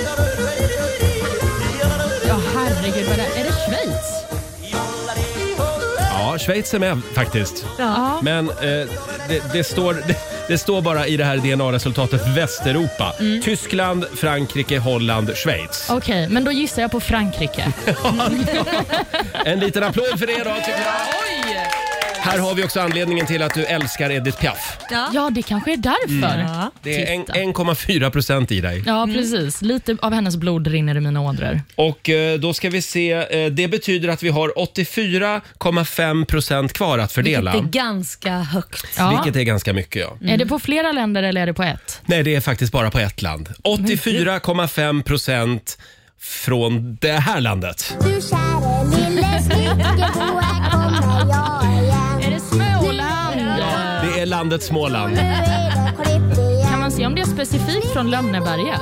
F: Ja, herregud. Vad det är. är det Schweiz?
A: Ja, Schweiz är med faktiskt.
F: Ja.
A: Men eh, det, det, står, det, det står bara i det här DNA-resultatet Västeuropa.
F: Mm.
A: Tyskland, Frankrike, Holland, Schweiz.
F: Okej, men då gissar jag
A: [laughs]
F: på Frankrike.
A: En liten applåd för det då tycker jag.
F: Oj!
A: Här har vi också anledningen till att du älskar Edith Piaf.
F: Ja, det kanske är därför.
A: Mm. Det är en-
F: Mm. Titta.
A: 1,4 procent i dig.
F: Ja, precis. Lite av hennes blod rinner i mina ådror.
A: Och eh, då ska vi se, eh, det betyder att vi har 84,5 procent kvar att fördela.
B: Vilket är ganska högt.
F: Ja. Mm.
A: Vilket är ganska mycket ja.
F: Är det på flera länder eller är det på ett?
A: Nej, det är faktiskt bara på ett land. 84,5 procent från det här landet.
G: Du käre lille snickerboa, kommer jag igen.
F: Är det Småland?
A: Det är landet Småland.
G: Nu är det klipp
F: Kan
G: igen.
F: man se om det är specifikt från Lönneberga?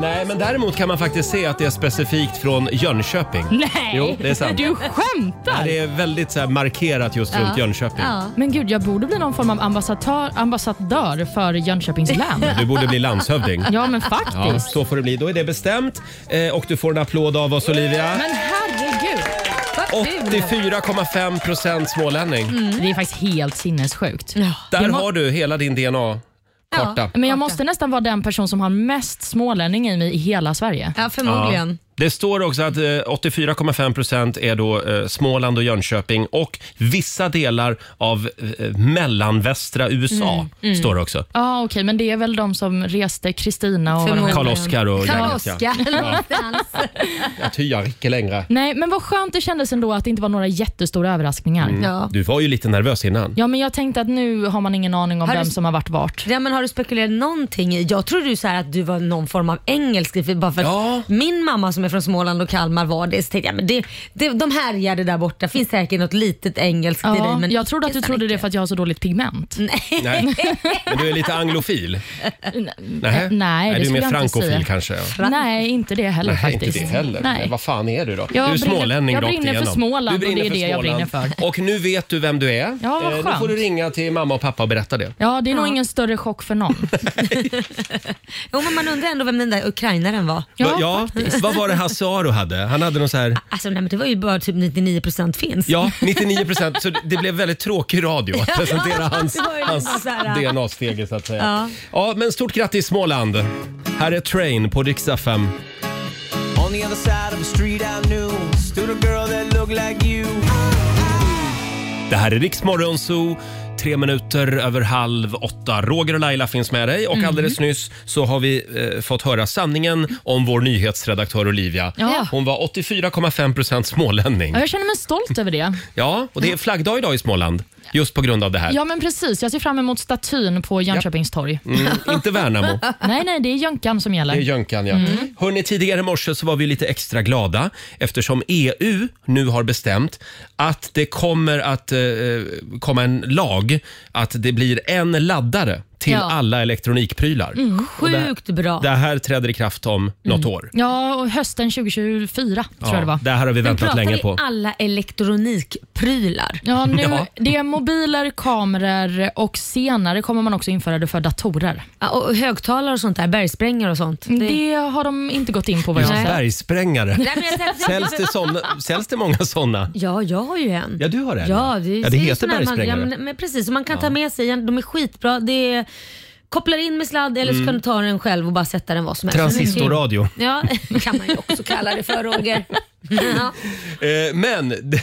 A: Nej, men däremot kan man faktiskt se att det är specifikt från Jönköping.
F: Nej!
A: Jo, det är sant.
F: Du
A: Ja,
F: skämtar!
A: Det är väldigt så här, markerat just runt Jönköping.
F: Men gud, jag borde bli någon form av ambassadör, ambassadör för Jönköpings län.
A: Du borde bli landshövding.
F: [laughs] Ja, men
A: Ja,
F: faktiskt.
A: så får det bli. Då är det bestämt. Eh, och du får en applåd av oss Olivia.
F: Men herregud!
B: Vad kul.
A: 84,5 procent smålänning.
B: Mm.
F: Det är faktiskt helt sinnessjukt.
A: Där
F: Jag Mm. må-
A: har du hela din DNA-karta.
F: Men jag måste nästan vara den person som har mest smålänning i mig i hela Sverige.
B: Ja, förmodligen.
A: Det står också att eh, 84,5 procent är då eh, Småland och Jönköping och vissa delar av eh, mellanvästra USA
B: Mm.
F: Mm,
A: står det också.
F: Ja, okej, men det är väl de som reste, Kristina och vad de
B: Förmodligen.
A: Karl-Oskar och gänget, ja.
B: Karl-Oskar någonstans.
A: Jag tyar inte längre.
F: [laughs] Nej, men vad skönt det kändes ändå att det inte var några jättestora överraskningar.
B: Ja.
A: Mm. Du var ju lite nervös innan.
F: Ja, men jag tänkte att nu har man ingen aning om
B: Har du-
F: vem som har varit vart.
B: Ja, men har du spekulerat någonting i? Jag tror du så här att du var någon form av engelsk. för- Bara för att
A: Ja.
B: Min mamma som är från Småland och Kalmar var det. Så tänkte jag, men det, det, de härjade där borta. finns säkert något litet engelskt i dig.
F: Ja,
B: Men
F: jag trodde att du
B: icke
F: trodde det
B: Sanneke.
F: för att jag har så dåligt pigment. Nej, [laughs]
A: Nej. Men du är lite anglofil. Nej,
F: Eh, nej, det
A: Du är
F: skulle
A: mer
F: jag inte
A: frankofil
F: säga.
A: kanske. Ja.
F: inte det heller
A: Nej,
F: faktiskt.
A: inte det heller.
F: Nej.
A: Men vad fan är du då?
F: Jag
A: du är
F: brinner-
A: smålänning
F: jag
A: rakt
F: brinner för
A: igenom.
F: Småland
A: Du
F: och det är det jag
A: Småland.
F: brinner för.
A: Och nu vet du vem du är.
F: Ja, vad
A: Eh, Nu
F: skönt.
A: får du ringa till mamma och pappa och berätta det.
F: Ja, det är nog ingen större chock för någon.
B: [laughs] Jo, men man undrar ändå vem den där ukrainaren var.
F: Ja,
A: vad var det Hasse Aro hade? Han hade någon så här...
B: Alltså, nej, men det var ju bara typ 99% finns.
A: Ja, 99 procent. Så det blev väldigt tråkig radio att presentera hans,
B: det var ju liksom
A: hans
B: så här, ja.
A: DNA-stege så att säga. Ja. men stort grattis Småland. Här är Train på Dix FM.
K: On the other side of the street I knew stood a girl that looked like you.
A: Det här är Riksmorgon Zoo. Tre minuter över halv åtta. Roger och Laila finns med dig och
F: Mm.
A: alldeles nyss så har vi eh, fått höra sanningen om vår nyhetsredaktör Olivia.
F: Ja.
A: Hon var 84,5 procent smålänning.
F: Ja, jag känner mig stolt över det.
A: Ja, och det är flaggdag idag i Småland just på grund av det här.
F: Ja, men precis. Jag ser fram emot statyn på Jönköpings torg.
B: [laughs]
A: Mm, inte Värnamo.
F: nej, nej, det är Jönkan som gäller.
A: Det är Jönkan, ja.
F: Mm.
A: Hörrni, tidigare i morse så var vi lite extra glada eftersom EU nu har bestämt att det kommer att eh, komma en lag att det blir en laddare till
B: Ja.
A: alla elektronikprylar.
B: Mm,
A: Och det här-
B: sjukt bra.
A: Det här träder i kraft om något år.
F: Mm. Ja, och hösten 2024 tror
A: Ja,
F: jag det var.
A: det här har vi
F: Men
A: väntat
F: pratar
A: länge
F: vi
A: på.
B: Alla elektronikprylar.
F: Ja, nu,
A: Ja.
F: Det är mobiler, kameror och senare kommer man också införa det för datorer. Mm,
B: och högtalare och sånt där, bergsprängare och sånt.
F: Det, har de inte gått in på vad jag
A: Just
F: har sett.
A: bergsprängare.
B: Nej, men jag tänkte-
A: Säljs det, såna, säljs det många sådana?
B: Ja, jag har ju en.
A: Ja, du har en.
B: Ja, det,
A: ja,
B: ser
A: det
B: ju
A: heter
B: sån här man-
A: bergsprängare.
B: ja, men, men precis, och man kan
A: Ja.
B: ta med sig en. De är skitbra. Det är, kopplar in med sladd eller så
A: Mm.
B: kan du ta den själv och bara sätta den var som helst.
A: Transistorradio.
B: [laughs] Ja, kan man ju också kalla det för Roger. Ja.
A: Eh, Men [laughs]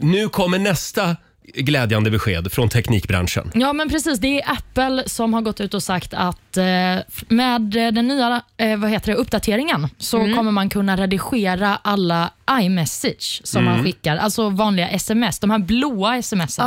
A: nu kommer nästa glädjande besked från teknikbranschen.
F: Ja, men precis. Det är Apple som har gått ut och sagt att eh, f- med den nya eh, vad heter det, uppdateringen så
B: Mm.
F: kommer man kunna redigera alla iMessage som
B: Mm.
F: man skickar, alltså vanliga sms, de här blåa smsen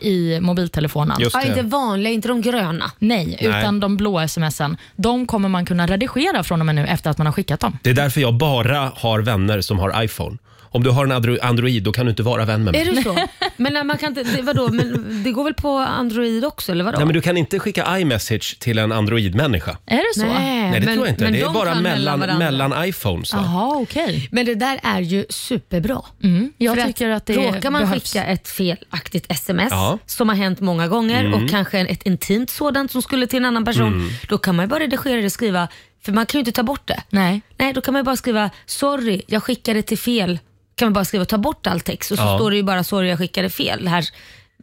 F: i mobiltelefonen.
B: Just Ah. Ja, det. inte vanliga, inte de gröna.
F: Nej,
A: Nej.
F: utan de blåa smsen. De kommer man kunna redigera från och med nu efter att man har skickat dem.
A: Det är därför jag bara har vänner som har iPhone. Om du har en Andro- Android då kan du inte vara vän med mig.
B: Är det så? Men nej, man kan inte, det, vadå, men det går väl på Android också eller vadå?
A: Nej, men du kan inte skicka iMessage till en Android-människa.
F: Är det så?
A: Nej, det tror jag inte. Det är bara mellan, mellan iPhones. va?
F: Jaha, okej.
B: Men det där är ju superbra.
A: Mm,
F: jag
B: För att
F: tycker att det
B: Råkar man
F: behövs.
B: skicka ett felaktigt sms,
A: Ja.
B: som har hänt många gånger,
A: Mm.
B: och kanske ett intimt sådant som skulle till en annan person,
A: Mm.
B: då kan man ju bara redigera det och skriva, för man kan ju inte ta bort det.
F: Nej.
B: Nej, då kan man ju bara skriva, sorry, jag skickade till fel. kan man bara skriva, ta bort all text och så
A: Ja.
B: står det ju bara, sorry, jag skickade fel. Det, här,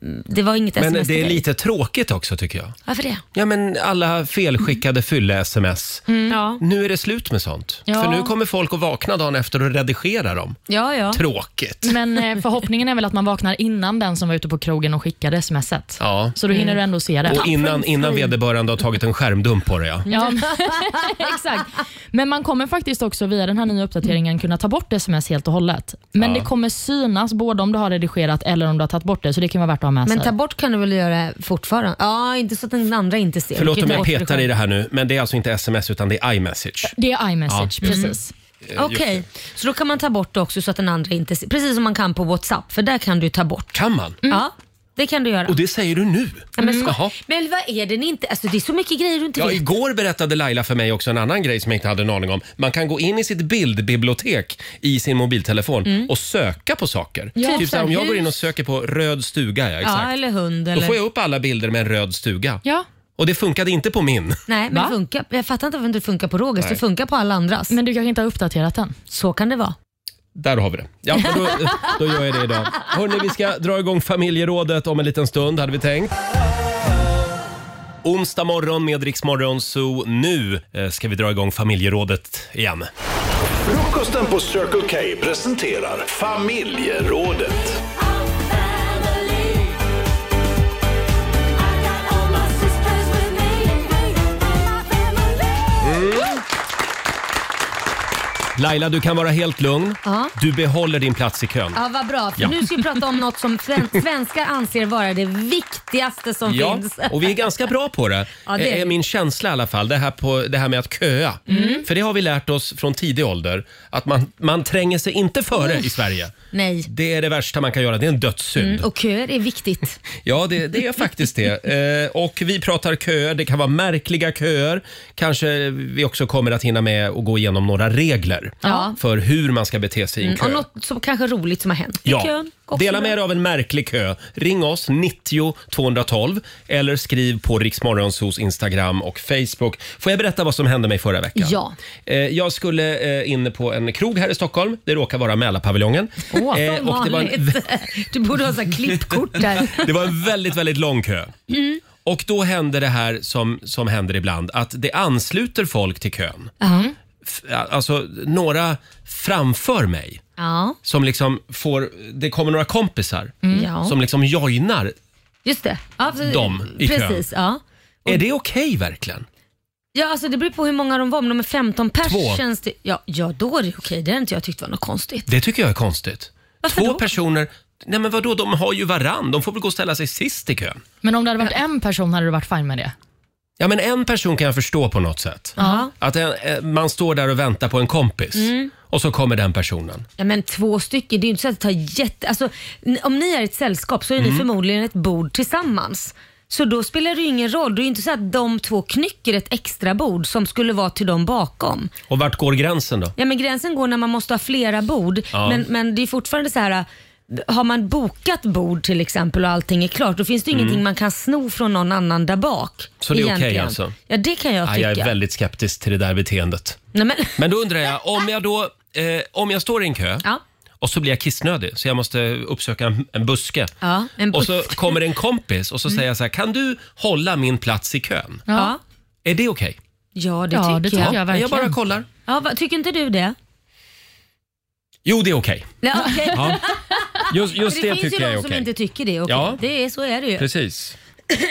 B: mm, det var inget
A: Men
B: sms till
A: det är
B: dig.
A: lite tråkigt också tycker jag.
B: Varför det?
A: Ja, men alla felskickade fylle-sms.
B: Ja.
A: Nu är det slut med sånt.
F: Ja.
A: För nu kommer folk att vakna dagen efter och redigera dem.
B: Ja, ja.
A: Tråkigt.
F: Men eh, förhoppningen är väl att man vaknar innan den som var ute på krogen och skickade smset.
A: Ja.
F: Så då hinner du ändå se det.
A: Och innan, innan vederbörande har tagit en skärmdump på det ja.
F: Ja,
B: Mm.
F: men- [laughs] exakt. Men man kommer faktiskt också via den här nya uppdateringen kunna ta bort sms helt och hållet. Men
A: Ja.
F: det kommer synas både om du har redigerat eller om du har tagit bort det, så det kan vara värt att ha med
B: Men
F: sig.
B: ta bort kan du väl göra fortfarande? Ja, inte så att den andra inte ser.
A: Förlåt om jag petar i
B: det.
A: det här nu, men det är alltså inte sms utan det är iMessage.
F: Det är iMessage,
A: Ja, just det.
F: precis.
A: Eh, just
B: Okej, så då kan man ta bort det också så att den andra inte ser. Precis som man kan på WhatsApp, för där kan du ta bort.
A: Kan man?
B: Ja, det kan du göra.
A: Och det säger du nu?
B: Ja,
F: Mm.
B: men,
A: Jaha.
B: ska, men vad är det ni inte... Alltså det är så mycket grejer du inte
A: Ja,
B: vet.
A: igår berättade Laila för mig också en annan grej som jag inte hade en aning om. Man kan gå in i sitt bildbibliotek i sin mobiltelefon och söka på saker.
B: Mm. Ja,
A: typ
B: typ
A: så här, om jag
B: hus.
A: går in och söker på röd stuga, ja,
B: Ja,
A: exakt.
B: eller hund
A: Då
B: eller...
A: får jag upp alla bilder med en röd stuga.
F: Ja.
A: Och det funkade inte på min.
B: Nej, men det funkar. Jag fattar inte varför det inte funkar på Rogers.
A: Nej.
B: Det funkar på alla andras.
F: Men du kanske inte har uppdaterat den?
B: Så kan det vara.
A: Där har vi det. Ja, men då, då gör jag det idag. Hörni, vi ska dra igång familjerådet om en liten stund, hade vi tänkt. Onsdag morgon med Rix Morgon, så nu eh, ska vi dra igång familjerådet igen.
L: Frukosten på Circle K presenterar Familjerådet.
B: Mm.
A: Laila, du kan vara helt lugn.
B: Ja.
A: Du behåller din plats i kön.
B: Ja, vad bra. För
A: Ja.
B: Nu ska vi prata om något som sven-
A: [laughs]
B: svenskar anser vara det viktigaste som
A: Ja,
B: finns.
A: och vi är ganska bra på det,
B: Ja, det är
A: är,
B: vi. Mm.
A: min känsla i alla fall. Det här, på, det här med att köa. För det har vi lärt oss från tidig ålder, att man, man tränger sig inte före i Sverige.
B: Nej.
A: Det är det värsta man kan göra, det är en dödssynd.
B: Mm, och köer är viktigt.
A: Ja, det,
B: [laughs]
A: det är faktiskt det. Eh, och vi pratar köer, det kan vara märkliga köer. Kanske vi också kommer att hinna med att gå igenom några regler
B: Ja.
A: för hur man ska bete sig i en
B: Mm, och
A: kö.
B: något som kanske är roligt som har hänt. i
A: Ja,
B: kön också.
A: dela med dig av en märklig kö. Ring oss, 90 212 eller skriv på Riksmorgonsos Instagram och Facebook. Får jag berätta vad som hände mig förra veckan?
B: Ja.
A: Eh, Jag skulle eh, in på en krog här i Stockholm. Det råkar vara Mälarpaviljongen. Eh,
B: Som
A: och det, var en,
B: vanligt. [laughs] Du borde ha så här klippkort
A: [laughs]
B: där.
A: det var en väldigt, väldigt lång kö.
B: Mm.
A: Och då händer det här som, som händer ibland, att det ansluter folk till kön.
B: Ja.
A: f- alltså, några framför mig
B: Ja,
A: som liksom får, det kommer några kompisar
B: Mm. Ja.
A: som liksom joinar.
B: just det. Ja, för-
A: Dem i kön.
B: Precis, ja.
A: Är det okej verkligen?
B: Ja, alltså det beror på hur många de var. Om de är 15 pers
A: Två.
B: känns det... Ja, ja, då är det okej. Det har inte jag tyckt var något konstigt.
A: Det tycker jag är konstigt.
B: Varför
A: Två
B: då?
A: personer, nej men vadå, de har ju varann. De får väl gå och ställa sig sist i kön.
F: Men om det hade varit en person hade du varit fine med det?
A: Ja men en person kan jag förstå på något sätt.
B: Ja.
A: Att en, eh, man står där och väntar på en kompis
B: Mm.
A: och så kommer den personen.
B: Ja, men två stycken, det är ju inte så att det tar jätte... Alltså, n- om ni är ett sällskap så är
A: Mm.
B: ni förmodligen ett bord tillsammans. Så då spelar det ju ingen roll. Det är ju inte så att de två knycker ett extra bord som skulle vara till dem bakom.
A: Och vart går gränsen då?
B: Ja, men gränsen går när man måste ha flera bord,
A: Ja.
B: men, men det är fortfarande så här... Har man bokat bord till exempel och allting är klart, då finns det ju
A: Mm.
B: ingenting man kan sno från någon annan där bak.
A: Så det är okej
B: egentligen.
A: alltså?
B: Ja, det kan jag
A: Ja,
B: tycka.
A: jag är väldigt skeptisk till det där beteendet.
B: Nej, men...
A: Men då undrar jag, om jag då, eh, om jag står i en kö
B: Ja.
A: och så blir jag kissnödig så jag måste uppsöka en, en buske.
B: Ja, en
A: Och så
B: buss.
A: kommer en kompis och så säger jag så här, kan du hålla min plats i kön?
B: Ja.
A: Är det okej?
B: Ja, det
F: Ja,
B: tycker
F: det tycker jag verkligen.
A: Jag bara kollar.
B: Ja, va, tycker inte du det?
A: Jo, det är okej.
B: Ja, okej.
A: Ja. Just, just
B: För
A: det,
B: det finns
A: tycker
B: ju
A: jag
B: de
A: är
B: som
A: okej.
B: inte tycker det. Okay.
A: Ja.
B: det är, så är det ju.
A: Precis.
B: [laughs]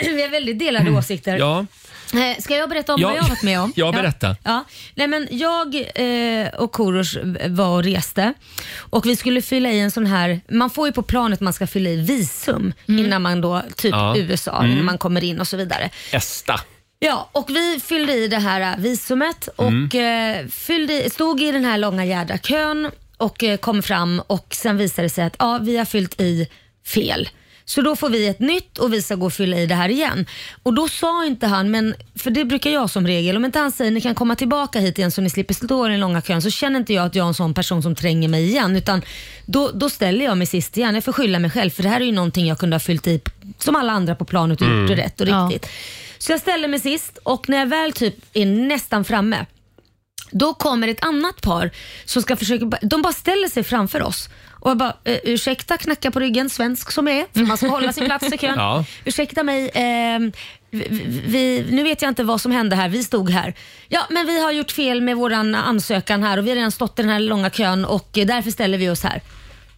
A: Mm.
B: Vi har väldigt delade åsikter.
A: Ja,
B: Eh, Ska jag berätta om
A: Ja.
B: vad jag har varit med om?
A: [laughs] Ja, berätta.
B: Ja. Nej, men jag eh, och Korosh var och reste och vi skulle fylla i en sån här, man får ju på planet man ska fylla i visum innan man då, typ
A: Mm. Ja.
B: USA,
A: Mm.
B: innan man kommer in och så vidare.
A: Esta.
B: Ja, och vi fyllde i det här eh, visumet och
A: Mm.
B: eh, fyllde, i- stod i den här långa jädra kön och eh, kom fram och sen visade det sig att ja, vi har fyllt i fel. Så då får vi ett nytt och vi ska gå och fylla i det här igen. Och då sa inte han, men, för det brukar jag som regel, om inte han säger ni kan komma tillbaka hit igen så ni slipper stå i den långa kön så känner inte jag att jag är en sån person som tränger mig igen. Utan då, då ställer jag mig sist igen. Jag får skylla mig själv för det här är ju någonting jag kunde ha fyllt i p- som alla andra på planet och
G: Mm.
B: typ gjort det rätt och
G: Ja.
B: riktigt. Så jag ställer mig sist och när jag väl typ är nästan framme då kommer ett annat par som ska försöka, de bara ställer sig framför oss. Och jag bara, eh, ursäkta knacka på ryggen, svensk som jag är, för man ska hålla sin plats i kön.
G: [laughs] Ja.
B: Ursäkta mig, ehm, vi, vi, nu vet jag inte vad som hände här, vi stod här. Ja, men vi har gjort fel med vår ansökan här och vi har redan stått i den här långa kön och eh, därför ställer vi oss här.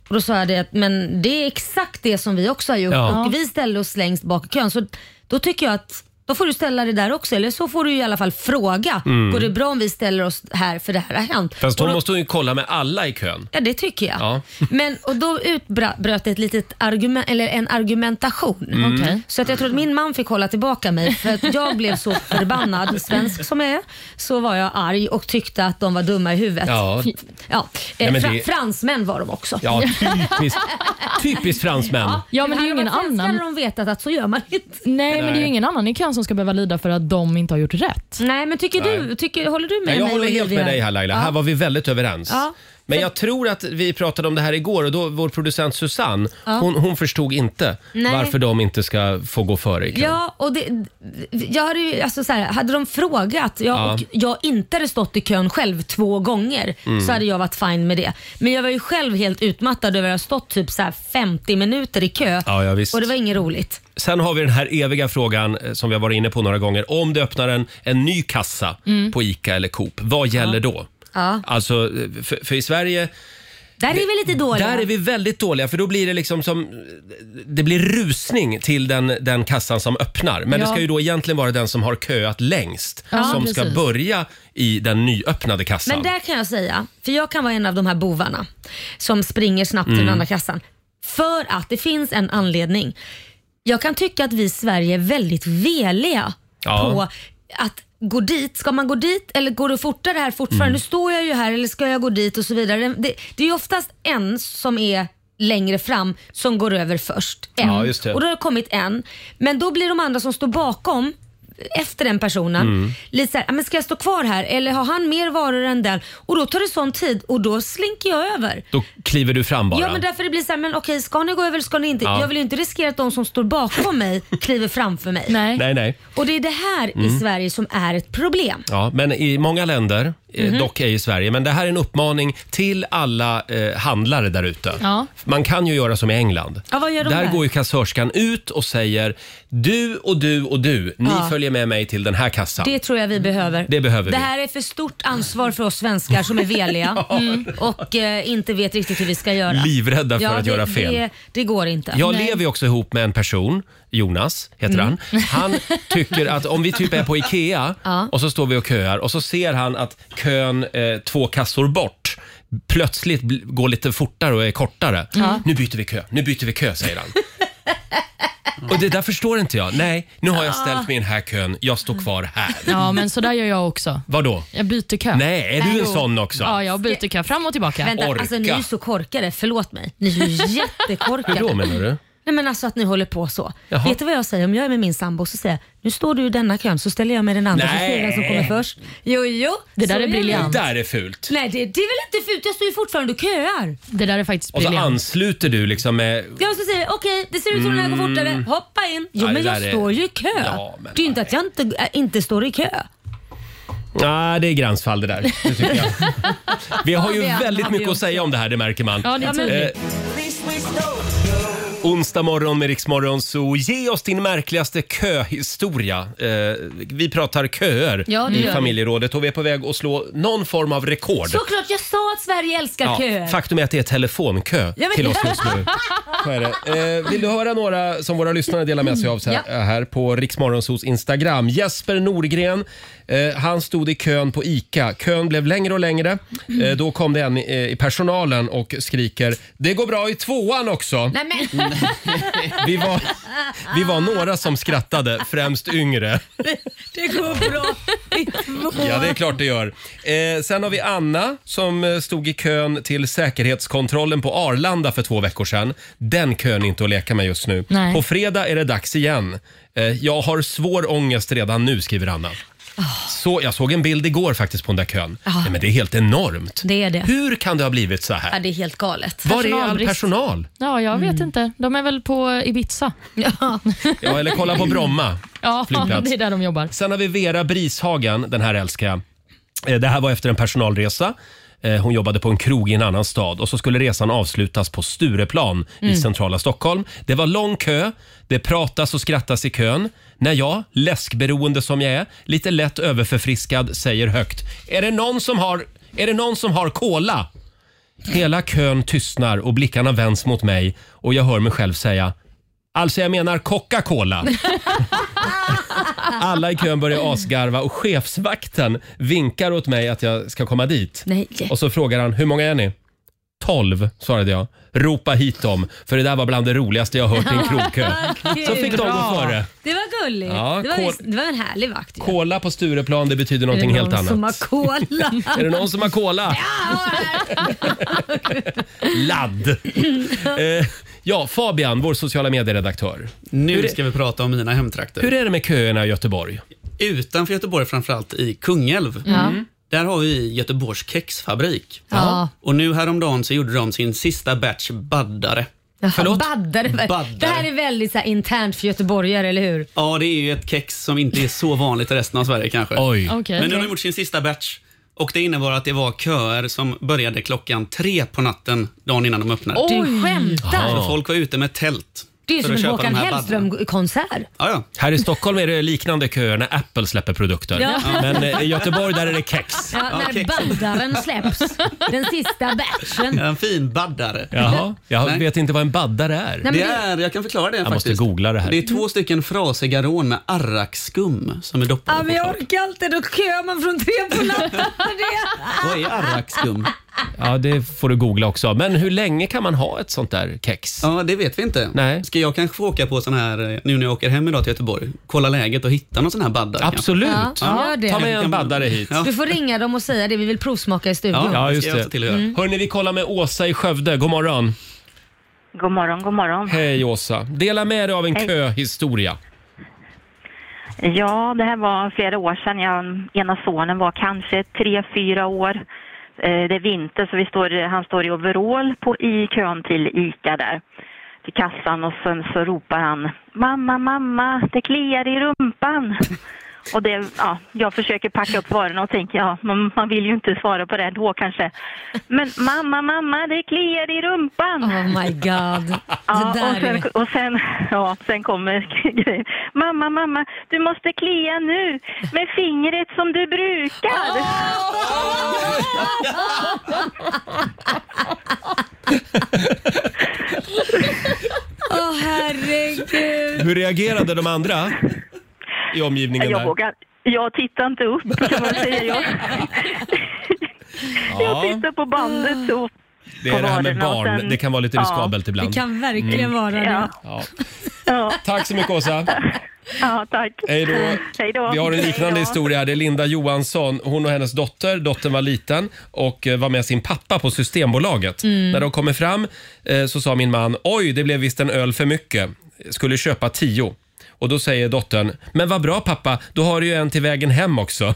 B: Och Då sa jag det att men det är exakt det som vi också har gjort
G: Ja.
B: och vi ställde oss längst bak i kön. Så då tycker jag att då får du ställa dig där också, eller så får du i alla fall fråga.
A: Mm.
B: Går det bra om vi ställer oss här för det här har hänt?
A: Fast
B: Och
A: hon
B: då-
A: måste ju kolla med alla i kön.
B: Ja, det tycker jag.
A: Ja.
B: Men, och då utbröt ett litet argument, eller en argumentation.
A: Mm. Okej.
B: Så att jag tror att min man fick hålla tillbaka mig för att jag blev så
A: [laughs]
B: förbannad, svensk som jag är, så var jag arg och tyckte att de var dumma i huvudet.
A: Ja.
B: Ja.
A: Nej,
B: Eh,
A: men
B: fra-
A: det-
B: Fransmän var de också.
A: Ja,
B: [laughs]
A: typiskt, typiskt fransmän.
F: Ja, men det är ju ingen annan.
B: Hade de vetat att så gör man inte.
F: Nej, men det är
A: Nej.
F: ju ingen annan i kön som ska behöva lida för att de inte har gjort rätt.
B: Nej, men tycker
A: Nej.
B: du, tycker, håller du med
A: Nej, jag
B: mig
A: håller helt
B: Olivia?
A: med dig här Laila.
B: Ja.
A: Här var vi väldigt överens.
B: Ja.
A: Men jag tror att vi pratade om det här igår och då vår producent Susanne,
B: Ja.
A: hon, hon förstod inte
B: Nej.
A: varför de inte ska få gå före i kön.
B: Ja, och det, jag hade, ju, alltså så här, hade de frågat jag,
A: Ja.
B: och jag inte hade stått i kön själv två gånger
A: Mm.
B: så hade jag varit fine med det. Men jag var ju själv helt utmattad över att ha stått typ så här 50 minuter i kö
A: Ja, ja, visst.
B: och det var inget roligt.
A: Sen har vi den här eviga frågan eh, som vi har varit inne på några gånger. Om det öppnar en, en ny kassa
B: Mm.
A: på ICA eller Coop, vad gäller då?
B: Ja.
A: Alltså, eh, för, för i Sverige
B: Där är vi lite dåliga.
A: Där är vi väldigt dåliga för då blir det liksom som Det blir rusning till den, den kassan som öppnar. Men det
B: Ja.
A: ska ju då egentligen vara den som har köat längst
B: Ja,
A: som ska
B: precis.
A: börja i den nyöppnade kassan.
B: Men där kan jag säga, för jag kan vara en av de här bovarna som springer snabbt till
A: Mm.
B: den andra kassan. För att det finns en anledning. Jag kan tycka att vi i Sverige är väldigt veliga
G: Ja.
B: på att gå dit. Ska man gå dit eller går det fortare här fortfarande?
G: Mm.
B: Nu står jag ju här eller ska jag gå dit och så vidare. Det, det är ju oftast en som är längre fram som går över först. En.
G: Ja, just det.
B: Och då har det kommit en. Men då blir de andra som står bakom efter den personen
G: Mm.
B: lite så här, "Ah, men ska jag stå kvar här eller har han mer varor än den? Och då tar det sån tid och då slinker jag över.
A: Då kliver du fram bara.
B: Ja men därför det blir så här, men okej ska ni gå över eller ska ni inte?
A: Ja.
B: Jag vill ju inte riskera att de som står
A: [laughs]
B: bakom mig kliver framför mig.
A: Nej, nej.
B: Och det är det här
A: Mm.
B: i Sverige som är ett problem.
A: Ja, men i många länder, eh,
F: Mhm.
A: dock är i Sverige. Men det här är en uppmaning till alla eh, handlare där ute.
F: Ja.
A: Man kan ju göra som i England.
F: Ja, vad gör de där?
A: går ju kassörskan ut och säger du och du och du, ni
B: Ja.
A: följer med mig till den här kassan.
B: Det tror jag vi behöver.
A: Det behöver
B: Det
A: vi.
B: här är för stort ansvar för oss svenskar som
A: [laughs]
B: är veliga mm, och eh, inte vet riktigt hur vi ska göra.
A: Livrädda för
B: ja,
A: att
B: det,
A: göra fel.
B: Det, det går inte.
A: Jag lever ju också ihop med en person, Jonas heter
B: Mm.
A: han. Han tycker att om vi typ är på IKEA
B: Ja.
A: och så står vi och köar och så ser han att kön eh, två kassor bort plötsligt bl- går lite fortare och är kortare.
B: Ja.
A: Nu byter vi kö, nu byter vi kö säger han. Och det där förstår inte jag. Nej, nu har jag ställt mig i den här kön, jag står kvar här.
F: Ja, men så där gör jag också.
A: Vadå?
F: Jag byter kö.
A: Nej, är du en
F: jo.
A: sån också?
F: Ja, jag byter kö fram och tillbaka.
B: Vänta, alltså ni är ju så korkade. Förlåt mig. Ni
A: [laughs]
B: är ju jättekorkade.
A: Hur då menar du?
B: Nej men alltså att ni håller på så.
A: Jaha.
B: Vet du vad jag säger? Om jag är med min sambo så säger jag, nu står du i denna kön så ställer jag mig i den andra så
A: Nej.
B: ser jag vem som kommer först. Jo, jo.
F: Det
B: så
F: där är
B: gör
F: briljant.
A: Det där är fult.
B: jag. Nej, det, det är väl inte fult? Jag står ju fortfarande och köar.
F: Det där är faktiskt
A: Och så ansluter du liksom med
B: Jag ska säga, okej, det ser ut som den här går
A: Mm.
B: fortare. Hoppa in. Jo,
A: Ja,
B: men
A: det
B: jag
A: där är-
B: står ju i kö.
A: Ja,
B: det är ju inte att jag inte, äh, inte står i kö.
A: Nej, det är gränsfall det där. Det tycker jag. Vi har ju
B: Ja, det är-
A: väldigt
B: hade
A: mycket
B: jag
A: att säga om det här, det märker man. Eh,
B: Ja, det är tydligt.
A: onsdag morgon med Riksmorgon, så ge oss din märkligaste köhistoria. Eh, vi pratar köer
B: Ja, det
A: i
B: gör vi.
A: familjerådet och vi är på väg att slå någon form av rekord.
B: Såklart, jag sa att Sverige älskar
A: Ja,
B: köer.
A: faktum är att det är telefonkö
B: Ja, men-
A: till oss just
B: [laughs]
A: nu. Så är det. Eh, vill du höra några som våra lyssnare delar med sig av så här,
B: Mm.
A: här på Riksmorgonsos Instagram? Jesper Norgren, eh, han stod i kön på ICA. Kön blev längre och längre. Eh,
B: Mm.
A: då kom det en eh, i personalen och skriker “Det går bra i tvåan också”.
B: Nej
A: Mm.
B: men. [laughs]
A: Vi var, vi var några som
B: [laughs]
A: skrattade, främst yngre.
B: Det går bra.
A: Ja, det är klart det gör. Eh, sen har vi Anna som eh, stod i kön till säkerhetskontrollen på Arlanda för två veckor sedan. Den kön är inte att leka med just nu.
F: Nej.
A: På fredag är det dags igen. Eh, jag har svår ångest redan nu, skriver Anna. Så, jag såg en bild igår faktiskt på den där kön.
B: Ah.
A: Nej, men det är helt enormt.
B: Det är det.
A: Hur kan det ha blivit så
B: Ja,
A: här?
B: det är helt galet. Mm.
A: Var är all personal?
F: Ja, jag vet inte. De är väl på Ibiza.
B: Ja,
A: Ja, eller kolla på Bromma.
F: ja [laughs]
A: Flygplats.
F: det är där de jobbar.
A: Sen har vi Vera Brishagen, den här älskar jag. Eh, Det här var efter en personalresa. Eh, Hon jobbade på en krog i en annan stad och så skulle resan avslutas på Stureplan i
M: Mm.
A: centrala Stockholm. Det var lång kö, det pratas och skrattas i kön. När jag, läskberoende som jag är, lite lätt överförfriskad säger högt Är det någon som har, är det någon som har cola? Hela kön tystnar och blickarna vänds mot mig och jag hör mig själv säga Alltså jag menar Coca-Cola. Alla i kön börjar asgarva och chefsvakten vinkar åt mig att jag ska komma dit.
B: Nej.
A: Och så frågar han, hur många är ni? Tolv, svarade jag. Ropa hit dem, för det där var bland det roligaste jag hört i en krogkö. Så fick de gå före.
B: Det var gulligt.
A: Ja,
B: det, var,
A: kol-
B: visst- det var en härlig vakt. ju.
A: Cola på Stureplan, det betyder någonting
B: är det
A: helt
B: någon
A: annat.
B: som har cola?
A: [laughs] Är det någon som har cola? Ladd! Eh, ja, Fabian, vår sociala medieredaktör.
J: Nu
A: Hur är-
J: ska vi prata om mina hemtrakter.
A: Hur är det med köerna i Göteborg?
J: Utanför Göteborg, framförallt i Kungälv,
A: Ja. Mm.
J: där har vi Göteborgs kexfabrik.
B: Ja.
J: Och nu häromdagen så gjorde de sin sista batch baddare.
B: Förlåt? Baddare.
J: Baddare.
B: Det här är väldigt så här, internt för göteborgare, eller hur?
J: Ja, det är ju ett kex som inte är så vanligt i resten av Sverige kanske.
A: Oj.
B: Okej.
J: Men nu har de gjort sin sista batch. Och Det innebar att det var köer som började klockan tre på natten dagen innan de öppnade.
B: Du skämtar?
J: Så folk var ute med tält.
B: Det är ju som
J: för att
B: en
J: köpa
B: Håkan
J: de här baddarna. [laughs]
B: Hellström-konsert.
A: Här i Stockholm är det liknande köer när Apple släpper produkter.
B: Ja.
A: Men eh, i Göteborg där är det kex.
B: Ja, när baddaren släpps. Den sista
J: [laughs]
B: batchen.
J: En fin baddare.
A: Jaha, jag
J: Nej.
A: vet inte vad en baddare är.
B: men
J: det
B: det-
J: är, jag kan förklara det
A: Jag måste
J: faktiskt.
A: googla det här.
J: Det är två stycken frasiga rån med arrakskum som är doppade
B: Ja, men jag
J: choklad.
B: orkar inte. Då köar man från tre på
J: [laughs]
B: natten för det.
J: Vad är arrakskum?
A: Ja, det får du googla också. Men hur länge kan man ha ett sånt där kex?
J: Ja, det vet vi inte.
A: Nej.
J: Ska jag kanske få åka på sån här, eh, nu när jag åker hem idag till Göteborg, kolla läget och hitta någon sån här baddare? kanske?
A: Absolut.
B: Ja, gör det. Ta med en
A: baddare hit.
J: Ja.
B: Du får ringa dem och säga det. Vi vill provsmaka i studion.
A: Ja, just
J: jag se till
A: det.
J: att göra.
A: Mm. Hörni, vi kollar med Åsa i Skövde. God morgon.
N: God morgon, god morgon.
A: Hej Åsa. Dela med dig av en
N: Hej.
A: köhistoria.
N: Ja, det här var flera år sedan. Jag, ena sonen var kanske tre, fyra år. Eh, Det är vinter så vi står, han står i overall på, i kön till ICA där, till kassan och sen så ropar han Mamma, mamma, det kliar i rumpan. Och det, ja, jag försöker packa upp varorna och tänker, ja, man, man vill ju inte svara på det då kanske. Men mamma, mamma, det kliar i rumpan!
B: Oh my god.
N: Ja,
B: Det där
N: och sen, och sen, ja, sen kommer [laughs] grejen. Mamma, mamma, du måste klia nu med fingret som du brukar!
B: Ah!
N: [laughs]
B: Åh herregud.
A: Hur reagerade de andra i omgivningen
N: jag
A: där?
N: vågar Jag tittar inte upp kan man säga. Jag, jag
A: Ja,
N: tittar på bandet och
A: det är det här med
N: varorna och
A: barn.
N: sen-
A: Det kan vara lite
N: ja.
A: riskabelt ibland. Mm.
N: Ja.
A: Ja.
N: Ja.
A: Tack så mycket Åsa.
N: Ja, tack.
A: Hej då.
N: Hej då.
A: Vi har en liknande
N: Hej då.
A: historia. Det är Linda Johansson. Hon och hennes dotter, dottern var liten och eh, var med sin pappa på Systembolaget.
M: Mm.
A: När de kommer fram eh, så sa min man, oj det blev visst en öl för mycket. Skulle köpa tio. Och då säger dottern, men vad bra pappa, då har du ju en till vägen hem
E: [laughs]
A: också.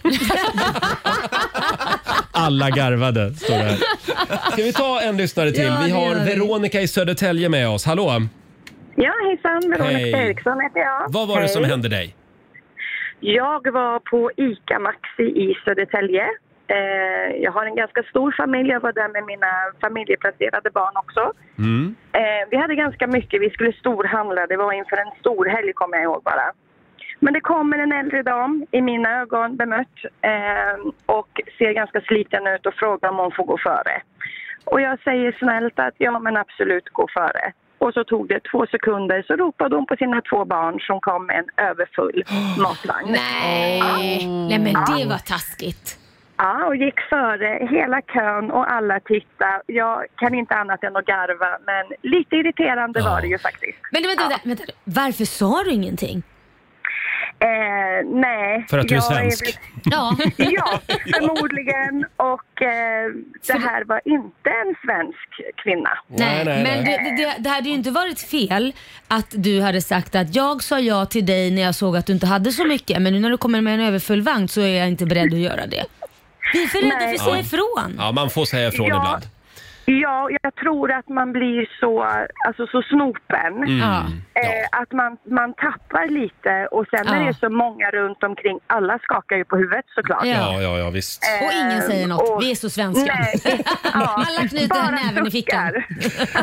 A: Alla garvade, står det här. Ska vi ta en lyssnare till?
E: Ja,
A: vi
E: det
A: har
E: gör vi.
A: Veronica i Södertälje med oss. Hallå!
E: Ja, hejsan. Veronica
A: Hej.
E: Eriksson heter jag.
A: Vad var det
E: Hej.
A: som hände dig?
E: Jag var på ICA Maxi i Södertälje. Eh, jag har en ganska stor familj. Jag var där med mina familjeplacerade barn också.
G: Mm.
E: Eh, vi hade ganska mycket. Vi skulle storhandla. Det var inför en stor helg, kommer jag ihåg bara. Men det kommer en äldre dam, i mina ögon bemött, eh, och ser ganska sliten ut och frågar om hon får gå före. Och jag säger snällt att ja, men absolut, gå före. Och så tog det två sekunder, så ropade hon på sina två barn som kom med en överfull matvagn.
B: Nej. Nej men det var taskigt.
E: Ja, och gick före hela kön och alla tittade. Jag kan inte annat än att garva, men lite irriterande var det ju faktiskt.
B: Men vänta, vänta, vänta. varför sa du ingenting?
E: Eh, nej.
A: För att du är
E: jag
A: svensk.
E: väl-
B: Ja.
E: [laughs] ja, förmodligen. Och eh, det här var inte en svensk kvinna.
B: Nej, men Det, det, det hade ju inte varit fel att du hade sagt att jag sa ja till dig när jag såg att du inte hade så mycket men nu när du kommer med en överfull vagn så är jag inte beredd att göra det. Vi är för rädda för att säga ifrån.
A: Ja, man får säga ifrån
E: Ja.
A: ibland.
E: Eh, Ja, jag tror att man blir så, alltså, så snopen
A: Mm. Ja.
E: eh, att man, man tappar lite och sen när
A: Ja.
E: det är så många runt omkring, alla skakar ju på huvudet såklart.
A: Ja, ja, ja visst.
B: Och ingen säger något. Vi är så svenska. [laughs] Alla knyter näven i fickan.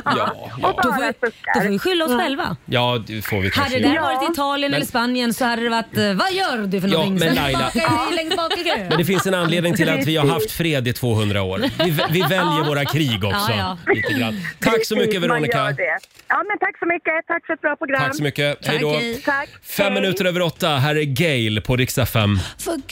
A: Ja,
B: Och då, får vi, då får vi skylla oss själva.
A: ja det får vi kanske
B: Hade det här
A: göra.
B: varit Italien
A: Men-
B: eller Spanien så hade det varit eh, vad gör du för
A: Ja,
B: någonting?
A: men
B: Så
A: Laila-
B: bakar jag dig längst bak i kön.
A: Men det finns en anledning till att vi har haft fred i 200 år. Vi, vi väljer våra krig också.
E: Ja,
A: Lite grann. Tack så mycket
E: Man gör
A: Veronica.
E: det. Ja, men tack så mycket. Tack för ett bra program.
A: Tack så mycket. Hej då.
E: Tack.
A: Fem
E: Hej.
A: minuter över åtta. Här är Gail på riksdag 5.
G: Forget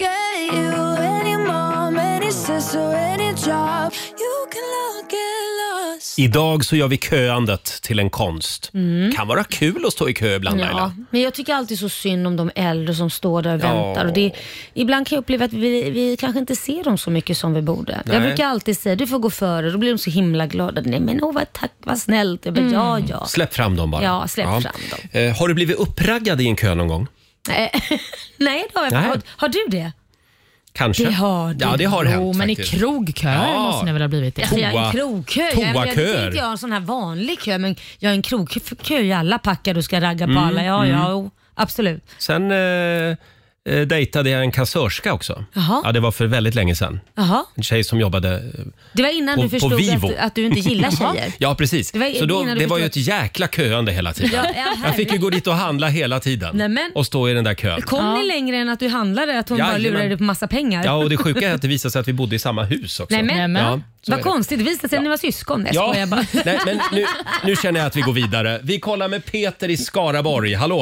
G: you, any mom, any sister, any job. You can look at lost.
A: Idag så gör vi köandet till en konst.
B: Mm.
A: Kan vara kul att stå i kö ibland
B: Ja,
A: Laila.
B: men jag tycker alltid så synd om de äldre som står där och
A: Ja.
B: väntar. Och det, ibland kan jag uppleva att vi, vi kanske inte ser dem så mycket som vi borde.
A: Nej.
B: Jag brukar alltid säga du får gå före, då blir de så himla glada. Nej men åh vad, tack, vad snällt. Jag bara, ja ja.
A: Mm. Släpp fram dem bara.
B: Ja, släpp fram
A: dem. Eh, har du blivit uppraggad i en kö någon gång?
B: Nej, [laughs] Nej då, har jag-
A: Nej.
B: Har, har du det?
A: Kanske.
B: Det har du.
A: Ja, det har
B: Jo,
A: hänt
F: men i
A: faktiskt.
F: krogköer
A: Ja.
F: måste ni väl ha blivit?
A: Ja.
B: Alltså, jag är
A: Toa-
B: en krogkö. Jag, jag, jag
A: toaköer.
B: tänkte inte jag har en sån här vanlig kö, men jag är en krogkö. Jag är alla packar och ska ragga på
A: Mm,
B: alla. Ja,
A: mm.
B: ja, jo, absolut.
A: Sen eh, eh, dejtade jag en kassörska också.
B: Jaha.
A: Ja, det var för väldigt länge sedan.
B: Jaha.
A: En tjej som jobbade eh,
B: Det var innan
A: på,
B: du
A: på
B: förstod
A: Vivo.
B: att, att du inte gillar tjejer.
A: [laughs] ja, precis.
B: Det var
A: så då,
B: innan du
A: det var ju ett
B: förstod
A: jäkla köande hela tiden.
B: Ja, ja,
A: jag fick ju gå dit och handla hela tiden
B: Nej, men-
A: och stå i den där kön.
B: Kom ni längre än att du handlade? Att hon bara
A: Jajamän.
B: lurade dig på massa pengar?
A: Ja, och det sjuka är att det visade sig att vi bodde i samma hus också.
B: Nej men,
A: Ja, så är
B: vad
A: det.
B: konstigt. Det visade sig att ni var syskon. Nej,
A: Ja.
B: skojar jag bara.
A: [laughs] Nej, men nu, nu känner jag att vi går vidare. Vi kollar med Peter i Skaraborg. Hallå!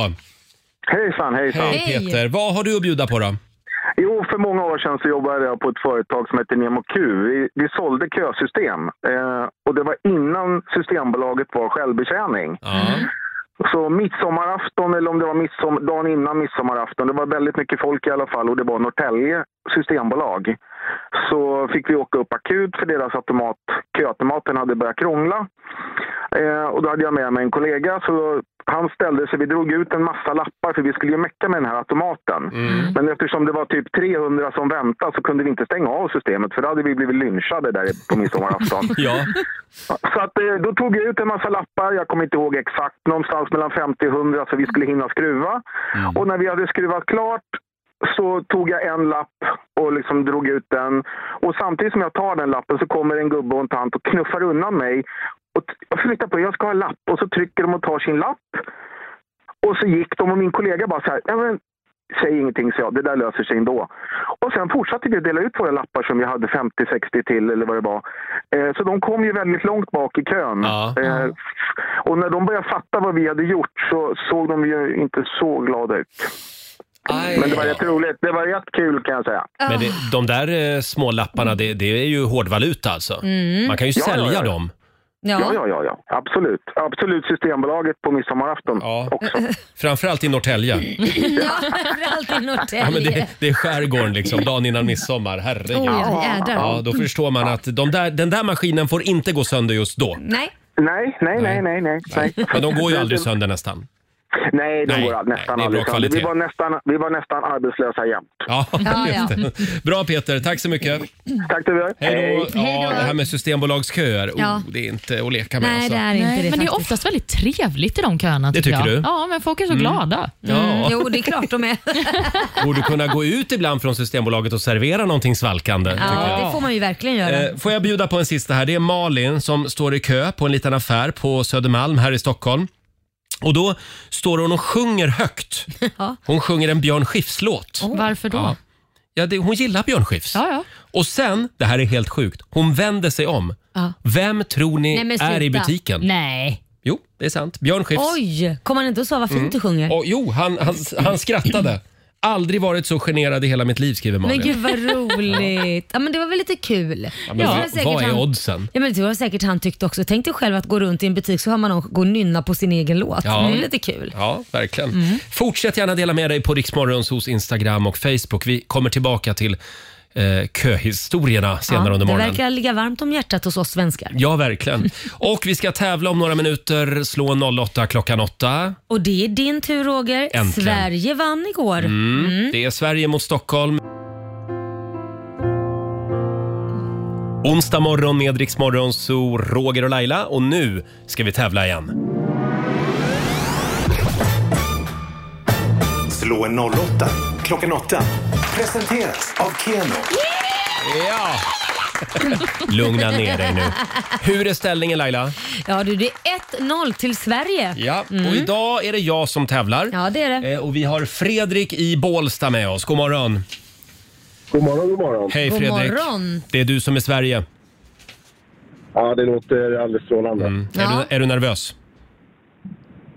O: Hejsan, hejsan.
A: Hej Peter! Vad har du att bjuda på då?
O: Jo, för många år sedan så jobbade jag på ett företag som hette Nemo Q. Vi, vi sålde kösystem eh, och det var innan Systembolaget var självbetjäning. Så midsommarafton, eller om det var midsom- dagen innan midsommarafton, det var väldigt mycket folk i alla fall och det var Norrtälje systembolag. Så fick vi åka upp akut för deras automat, köautomaten hade börjat krångla. Eh, och då hade jag med mig en kollega. Så han ställde sig, vi drog ut en massa lappar för vi skulle ju mecka med den här automaten. Men eftersom det var typ 300 som väntade så kunde vi inte stänga av systemet för då hade vi blivit lynchade där på midsommarafton.
A: ja.
O: Så att, eh, då tog jag ut en massa lappar, jag kommer inte ihåg exakt, någonstans mellan 50 och 100 så vi skulle hinna skruva. Och när vi hade skruvat klart så tog jag en lapp och liksom drog ut den. Och samtidigt som jag tar den lappen så kommer en gubbe och en tant och knuffar undan mig. Och t- jag flyttar på, jag ska ha en lapp. Och så trycker de och tar sin lapp. Och så gick de och min kollega bara så här, ja, men, säg ingenting, så jag, det där löser sig ändå. Och sen fortsatte vi att dela ut våra lappar som vi hade 50-60 till eller vad det var. Eh, så de kom ju väldigt långt bak i kön. Eh, och när de började fatta vad vi hade gjort så såg de ju inte så glada ut. Men det var rätt roligt. Det var rätt kul kan jag säga.
A: Men det, de där eh, små lapparna, det, det är ju hårdvaluta alltså.
O: Mm.
A: Man kan ju
O: Ja, ja,
A: sälja
O: ja.
A: dem.
O: Ja. Ja, ja, ja, Absolut. Absolut Systembolaget på midsommarafton också.
A: Framförallt i Norrtälje.
B: Mm. [laughs] Ja, framförallt i Norrtälje.
A: Ja, men det, det är skärgården liksom, dagen innan midsommar. Herregud.
B: Oj, jädrar.
A: ja, då förstår man att de där, den där maskinen får inte gå sönder just då.
B: Nej.
O: Nej, nej, nej, nej, nej. nej.
A: Men de går ju aldrig sönder nästan.
O: Nej, de
A: Nej,
O: går all- nästan
A: nej, det är bra
O: aldrig sönder. Vi
A: kvalitet.
O: var nästan, vi var nästan arbetslösa jämt.
A: Ja,
O: Ja,
A: [laughs] just
O: ja.
A: det. Bra Peter, tack så mycket.
O: Tack till er.
A: Hej då.
F: Hej
A: Ja,
F: då.
A: det här med systembolagsköer,
F: Ja.
A: oh, det är inte att leka med. alltså.
F: Nej, Men det är oftast väldigt trevligt i de köerna.
A: Det tycker
F: jag.
A: du?
F: Ja, men folk är så
A: Mm.
F: glada.
A: Ja. Mm. Jo,
B: det är klart de är.
A: Borde kunna gå ut ibland från Systembolaget och servera någonting svalkande. tycker jag.
B: Ja, det får man ju verkligen göra.
A: Eh, Får jag bjuda på en sista här? Det är Malin som står i kö på en liten affär på Södermalm här i Stockholm. Och då står hon och sjunger högt.
B: [laughs] Ja.
A: Hon sjunger en Björn Skifs-låt.
F: Varför då?
A: Ja. Ja, det, hon gillar Björn Skifs. Och sen, det här är helt sjukt, hon vänder sig om.
B: Ja.
A: Vem tror ni
B: Nej, men
A: är i
B: sluta.
A: butiken?
F: Nej.
A: Jo, det är sant. Björn Skifs.
B: Oj, kom han inte och sa varför
A: Mm.
B: du inte sjunger?
A: Och, jo, han, han, han skrattade. Aldrig varit så generad i hela mitt liv, skriver Malin.
B: Men gud vad
A: [laughs]
B: roligt. Ja, men det var väl lite kul.
A: Ja, men
B: Det var
A: vad-
B: säkert
A: vad är
B: han-
A: oddsen?
B: Ja, men det var säkert han tyckte också. Tänk dig själv att gå runt i en butik så hör man någon gå och nynna på sin egen låt. Det är lite kul.
A: Ja, verkligen.
B: Mm.
A: Fortsätt gärna dela med dig på Riksmorgons hos Instagram och Facebook. Vi kommer tillbaka till eh, köhistorierna senare
B: ja,
A: under
B: det
A: morgonen.
B: verkar ligga varmt om hjärtat hos oss svenskar.
A: Ja, verkligen. Och vi ska tävla om några minuter. Slå 08 klockan 8.
B: Och det är din tur Roger.
A: Äntligen.
B: Sverige vann igår.
A: Mm. Det är Sverige mot Stockholm. Onsdag morgon med Rix Morgon, så Roger och Laila och nu ska vi tävla igen.
C: Slå en 08 klockan 8. Presenteras av Keno.
A: Ja! Lugna ner dig [laughs] nu. Hur är ställningen Laila?
B: [laughs] Ja du, det är 1-0 till Sverige.
A: Ja, och
B: Mm.
A: idag är det jag som tävlar.
B: Ja, det är det.
A: Eh, och vi har Fredrik i Bålsta med oss. God morgon. God morgon, god morgon. Hej
B: God
A: Fredrik.
B: morgon.
A: Det är du som är Sverige. Ja, det låter alldeles strålande. Mm.
B: Ja.
A: Är, du, är du nervös?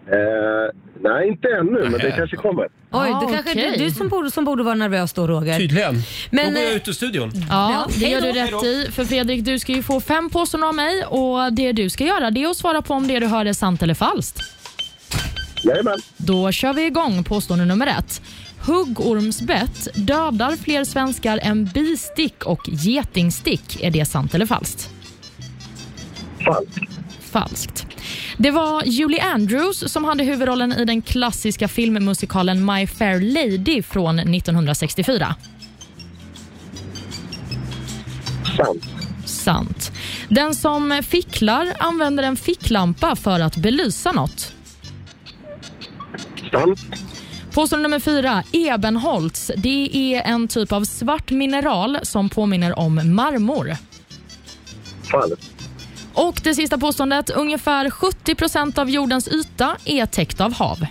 M: Eh,
A: nej, inte ännu, men
M: det
A: kanske kommer.
B: Oj,
F: Ah,
B: det kanske
F: okej.
B: är du som borde, som borde vara nervös då Roger.
A: Tydligen.
B: Men,
A: Då går jag
B: eh,
A: ut ur studion.
F: Ja, det
B: hej
F: gör
B: då.
F: du
B: Hej
F: rätt
B: då.
F: i. För Fredrik, du ska ju få fem påståenden av mig och det du ska göra det är att svara på om det du hör är sant eller falskt.
M: Jajamän.
F: Då kör vi igång påstående nummer ett. Huggormsbett dödar fler svenskar än bistick och getingstick. Är det sant eller falskt? Falskt. Falskt. Det var Julie Andrews som hade huvudrollen i den klassiska filmmusikalen My Fair Lady från 1964.
M: Sant.
F: Sant. Den som ficklar använder en ficklampa för att belysa något.
M: Sant.
F: Påstående nummer fyra. Ebenholts. Det är en typ av svart mineral som påminner om marmor.
M: Falskt.
F: Och det sista påståendet. Ungefär 70 procent av jordens yta är täckt av hav.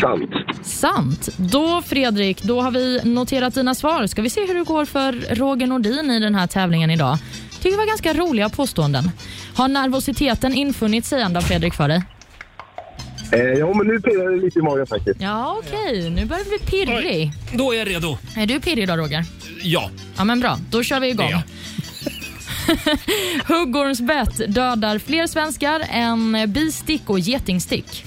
M: Sant.
F: Sant. Då Fredrik, då har vi noterat dina svar. Ska vi se hur det går för Roger Nordin i den här tävlingen idag. Tycker det var ganska roliga påståenden. Har nervositeten infunnit sig ända Fredrik för dig?
M: Eh, ja, men nu pirrar det lite i magen faktiskt.
F: Ja, okej. Nu börjar det bli pirrig.
A: Då är jag redo.
F: Är du pirrig då Roger?
A: Ja.
F: Ja, men bra. Då kör vi igång. [laughs] Huggormsbett dödar fler svenskar än bistick och getingstick.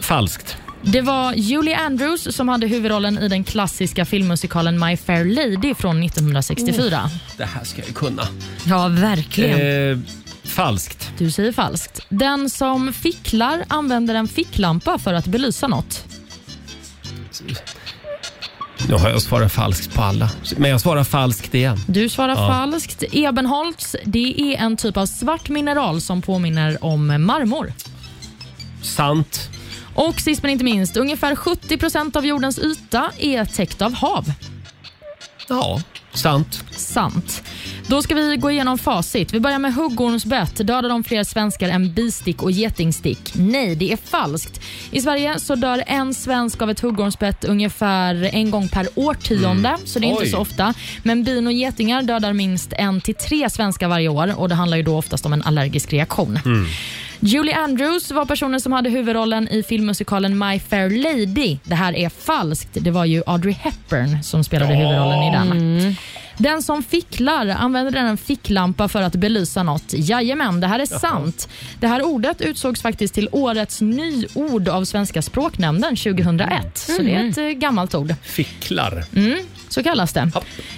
A: Falskt.
F: Det var Julie Andrews som hade huvudrollen i den klassiska filmmusikalen My Fair Lady från 1964.
A: Mm. Det här ska jag ju kunna.
F: Ja, verkligen.
A: Eh, falskt.
F: Du säger falskt. Den som ficklar använder en ficklampa för att belysa något.
A: Nu har jag svarat falskt på alla. Men jag svarar falskt igen.
F: Du svarar
A: Ja.
F: falskt. Ebenholts, det är en typ av svart mineral som påminner om marmor.
A: Sant.
F: Och sist men inte minst, ungefär 70 procent av jordens yta är täckt av hav.
A: Ja, sant.
F: Sant. Då ska vi gå igenom facit. Vi börjar med huggormsbett. Dödar de fler svenskar än bistick och getingstick? Nej, det är falskt. I Sverige så dör en svensk av ett huggormsbett ungefär en gång per årtionde,
P: Mm.
F: så det är inte
P: Oj.
F: så ofta. Men bin och getingar dödar minst en till tre svenskar varje år och det handlar ju då oftast om en allergisk reaktion.
P: Mm.
F: Julie Andrews var personen som hade huvudrollen i filmmusikalen My Fair Lady. Det här är falskt. Det var ju Audrey Hepburn som spelade
P: Ja.
F: huvudrollen i den. Den som ficklar använder en ficklampa för att belysa något. Jajamän, det här är
P: Jaha.
F: sant. Det här ordet utsågs faktiskt till årets nyord av Svenska språknämnden 2001. Så det är ett eh, gammalt ord.
A: Ficklar.
F: Mm, så kallas det.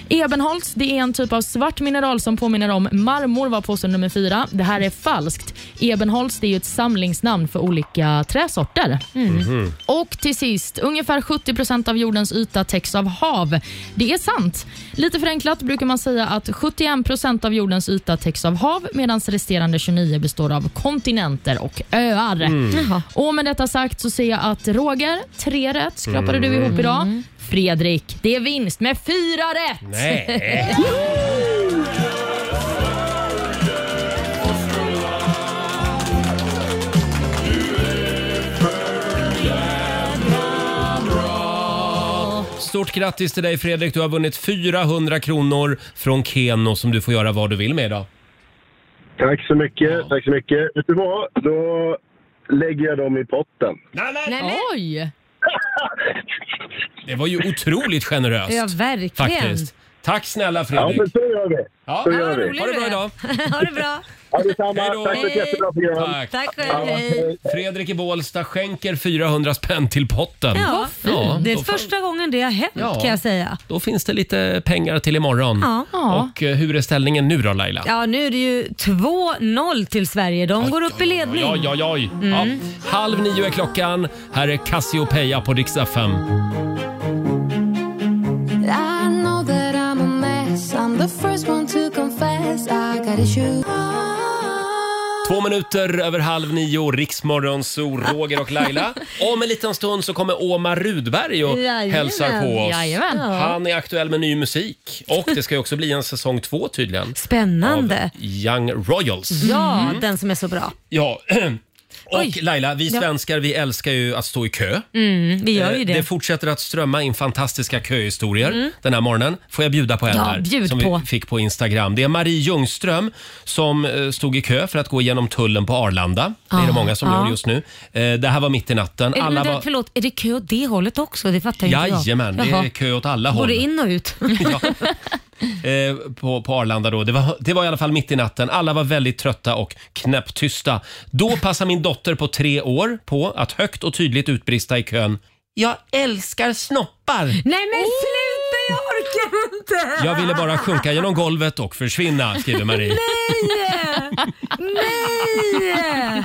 F: Ebenholts det är en typ av svart mineral som påminner om marmor, var påse nummer fyra. Det här är falskt. Ebenholts det är ju ett samlingsnamn för olika träsorter.
G: Mm.
P: Mhm.
F: Och till sist, ungefär 70 procent av jordens yta täcks av hav. Det är sant. Lite förenklat brukar man säga att 71 procent av jordens yta täcks av hav medan resterande 29 består av kontinenter och öar.
P: Mm. Jaha.
F: Och med detta sagt så ser jag att Roger, tre rätt skrapade du
P: Mm.
F: ihop idag. Fredrik, det är vinst med fyra rätt! [laughs]
P: Nej.
A: Stort grattis till dig Fredrik. Du har vunnit 400 kronor från Keno som du får göra vad du vill med idag.
M: Tack så mycket, tack så mycket. Vet du vad? Då lägger jag dem i potten.
F: Oj!
A: Det var ju otroligt generöst.
B: Ja, verkligen.
A: Faktiskt. Tack snälla
M: Ja,
A: Fredrik.
M: men så gör vi.
A: Ja.
M: Så gör
A: Ha det bra idag.
B: [laughs] ha det bra.
M: Ja, detsamma.
A: Hej då.
M: Tack för ett jättebra program.
A: Tack.
B: Tack själv. Hej.
A: Fredrik i Bålsta skänker 400 spänn till potten.
B: Ja, det är
A: då,
B: första gången det har hänt
A: Ja.
B: kan jag säga.
A: då finns det lite pengar till imorgon.
B: Ja. Ja.
A: Och eh, hur är ställningen nu då Laila?
B: Ja, nu är det ju 2-0 till Sverige. De går upp i ledning.
A: Oj, oj, oj.
B: Mm.
A: Ja. Halv nio är klockan. Här är Cassiopeia på Dix FM.
G: I know that I'm a mess. I'm the first one to confess. I got issues.
A: Två minuter över halv nio, Riksmorgon, så Roger och
B: [laughs]
A: Laila. Om en liten stund så kommer Omar Rudberg och
P: Jajamän.
A: hälsar på oss.
P: Jajamän. Ja.
A: Han är aktuell med ny musik och det ska ju också bli en säsong två tydligen.
B: Spännande.
A: Young Royals.
B: Ja,
A: Mm.
B: den som är så bra.
A: ja. [clears throat] Och
B: Oj.
A: Laila, vi
B: Ja.
A: svenskar vi älskar ju att stå i kö.
B: Mm, vi gör
A: Eh,
B: ju det.
A: fortsätter att strömma in fantastiska köhistorier
B: Mm.
A: den här morgonen. Får jag bjuda på en
B: Ja,
A: här?
B: bjud
A: som
B: på.
A: vi fick på Instagram. Det är Marie Ljungström som eh, stod i kö för att gå igenom tullen på Arlanda. Det är
B: Ja.
A: det många som
B: Ah. Ja.
A: gör just nu. Eh, Det här var mitt i natten.
B: Är,
A: Alla
B: men det,
A: var...
B: Förlåt, är det kö åt det hållet också? Det fattar inte jag.
A: Jajamän, det är
B: Jaha.
A: kö åt alla håll.
B: Både in
A: [laughs]
B: och ut.
A: eh, på, på Arlanda då. Det var, det var i alla fall mitt i natten. Alla var väldigt trötta och knäpptysta. Då passar min dotter på tre år på att högt och tydligt utbrista i kön. Jag älskar snoppar!
B: Nej men sluta, jag orkar inte!
A: Jag ville bara sjunka genom golvet och försvinna, skriver Marie.
B: Nej!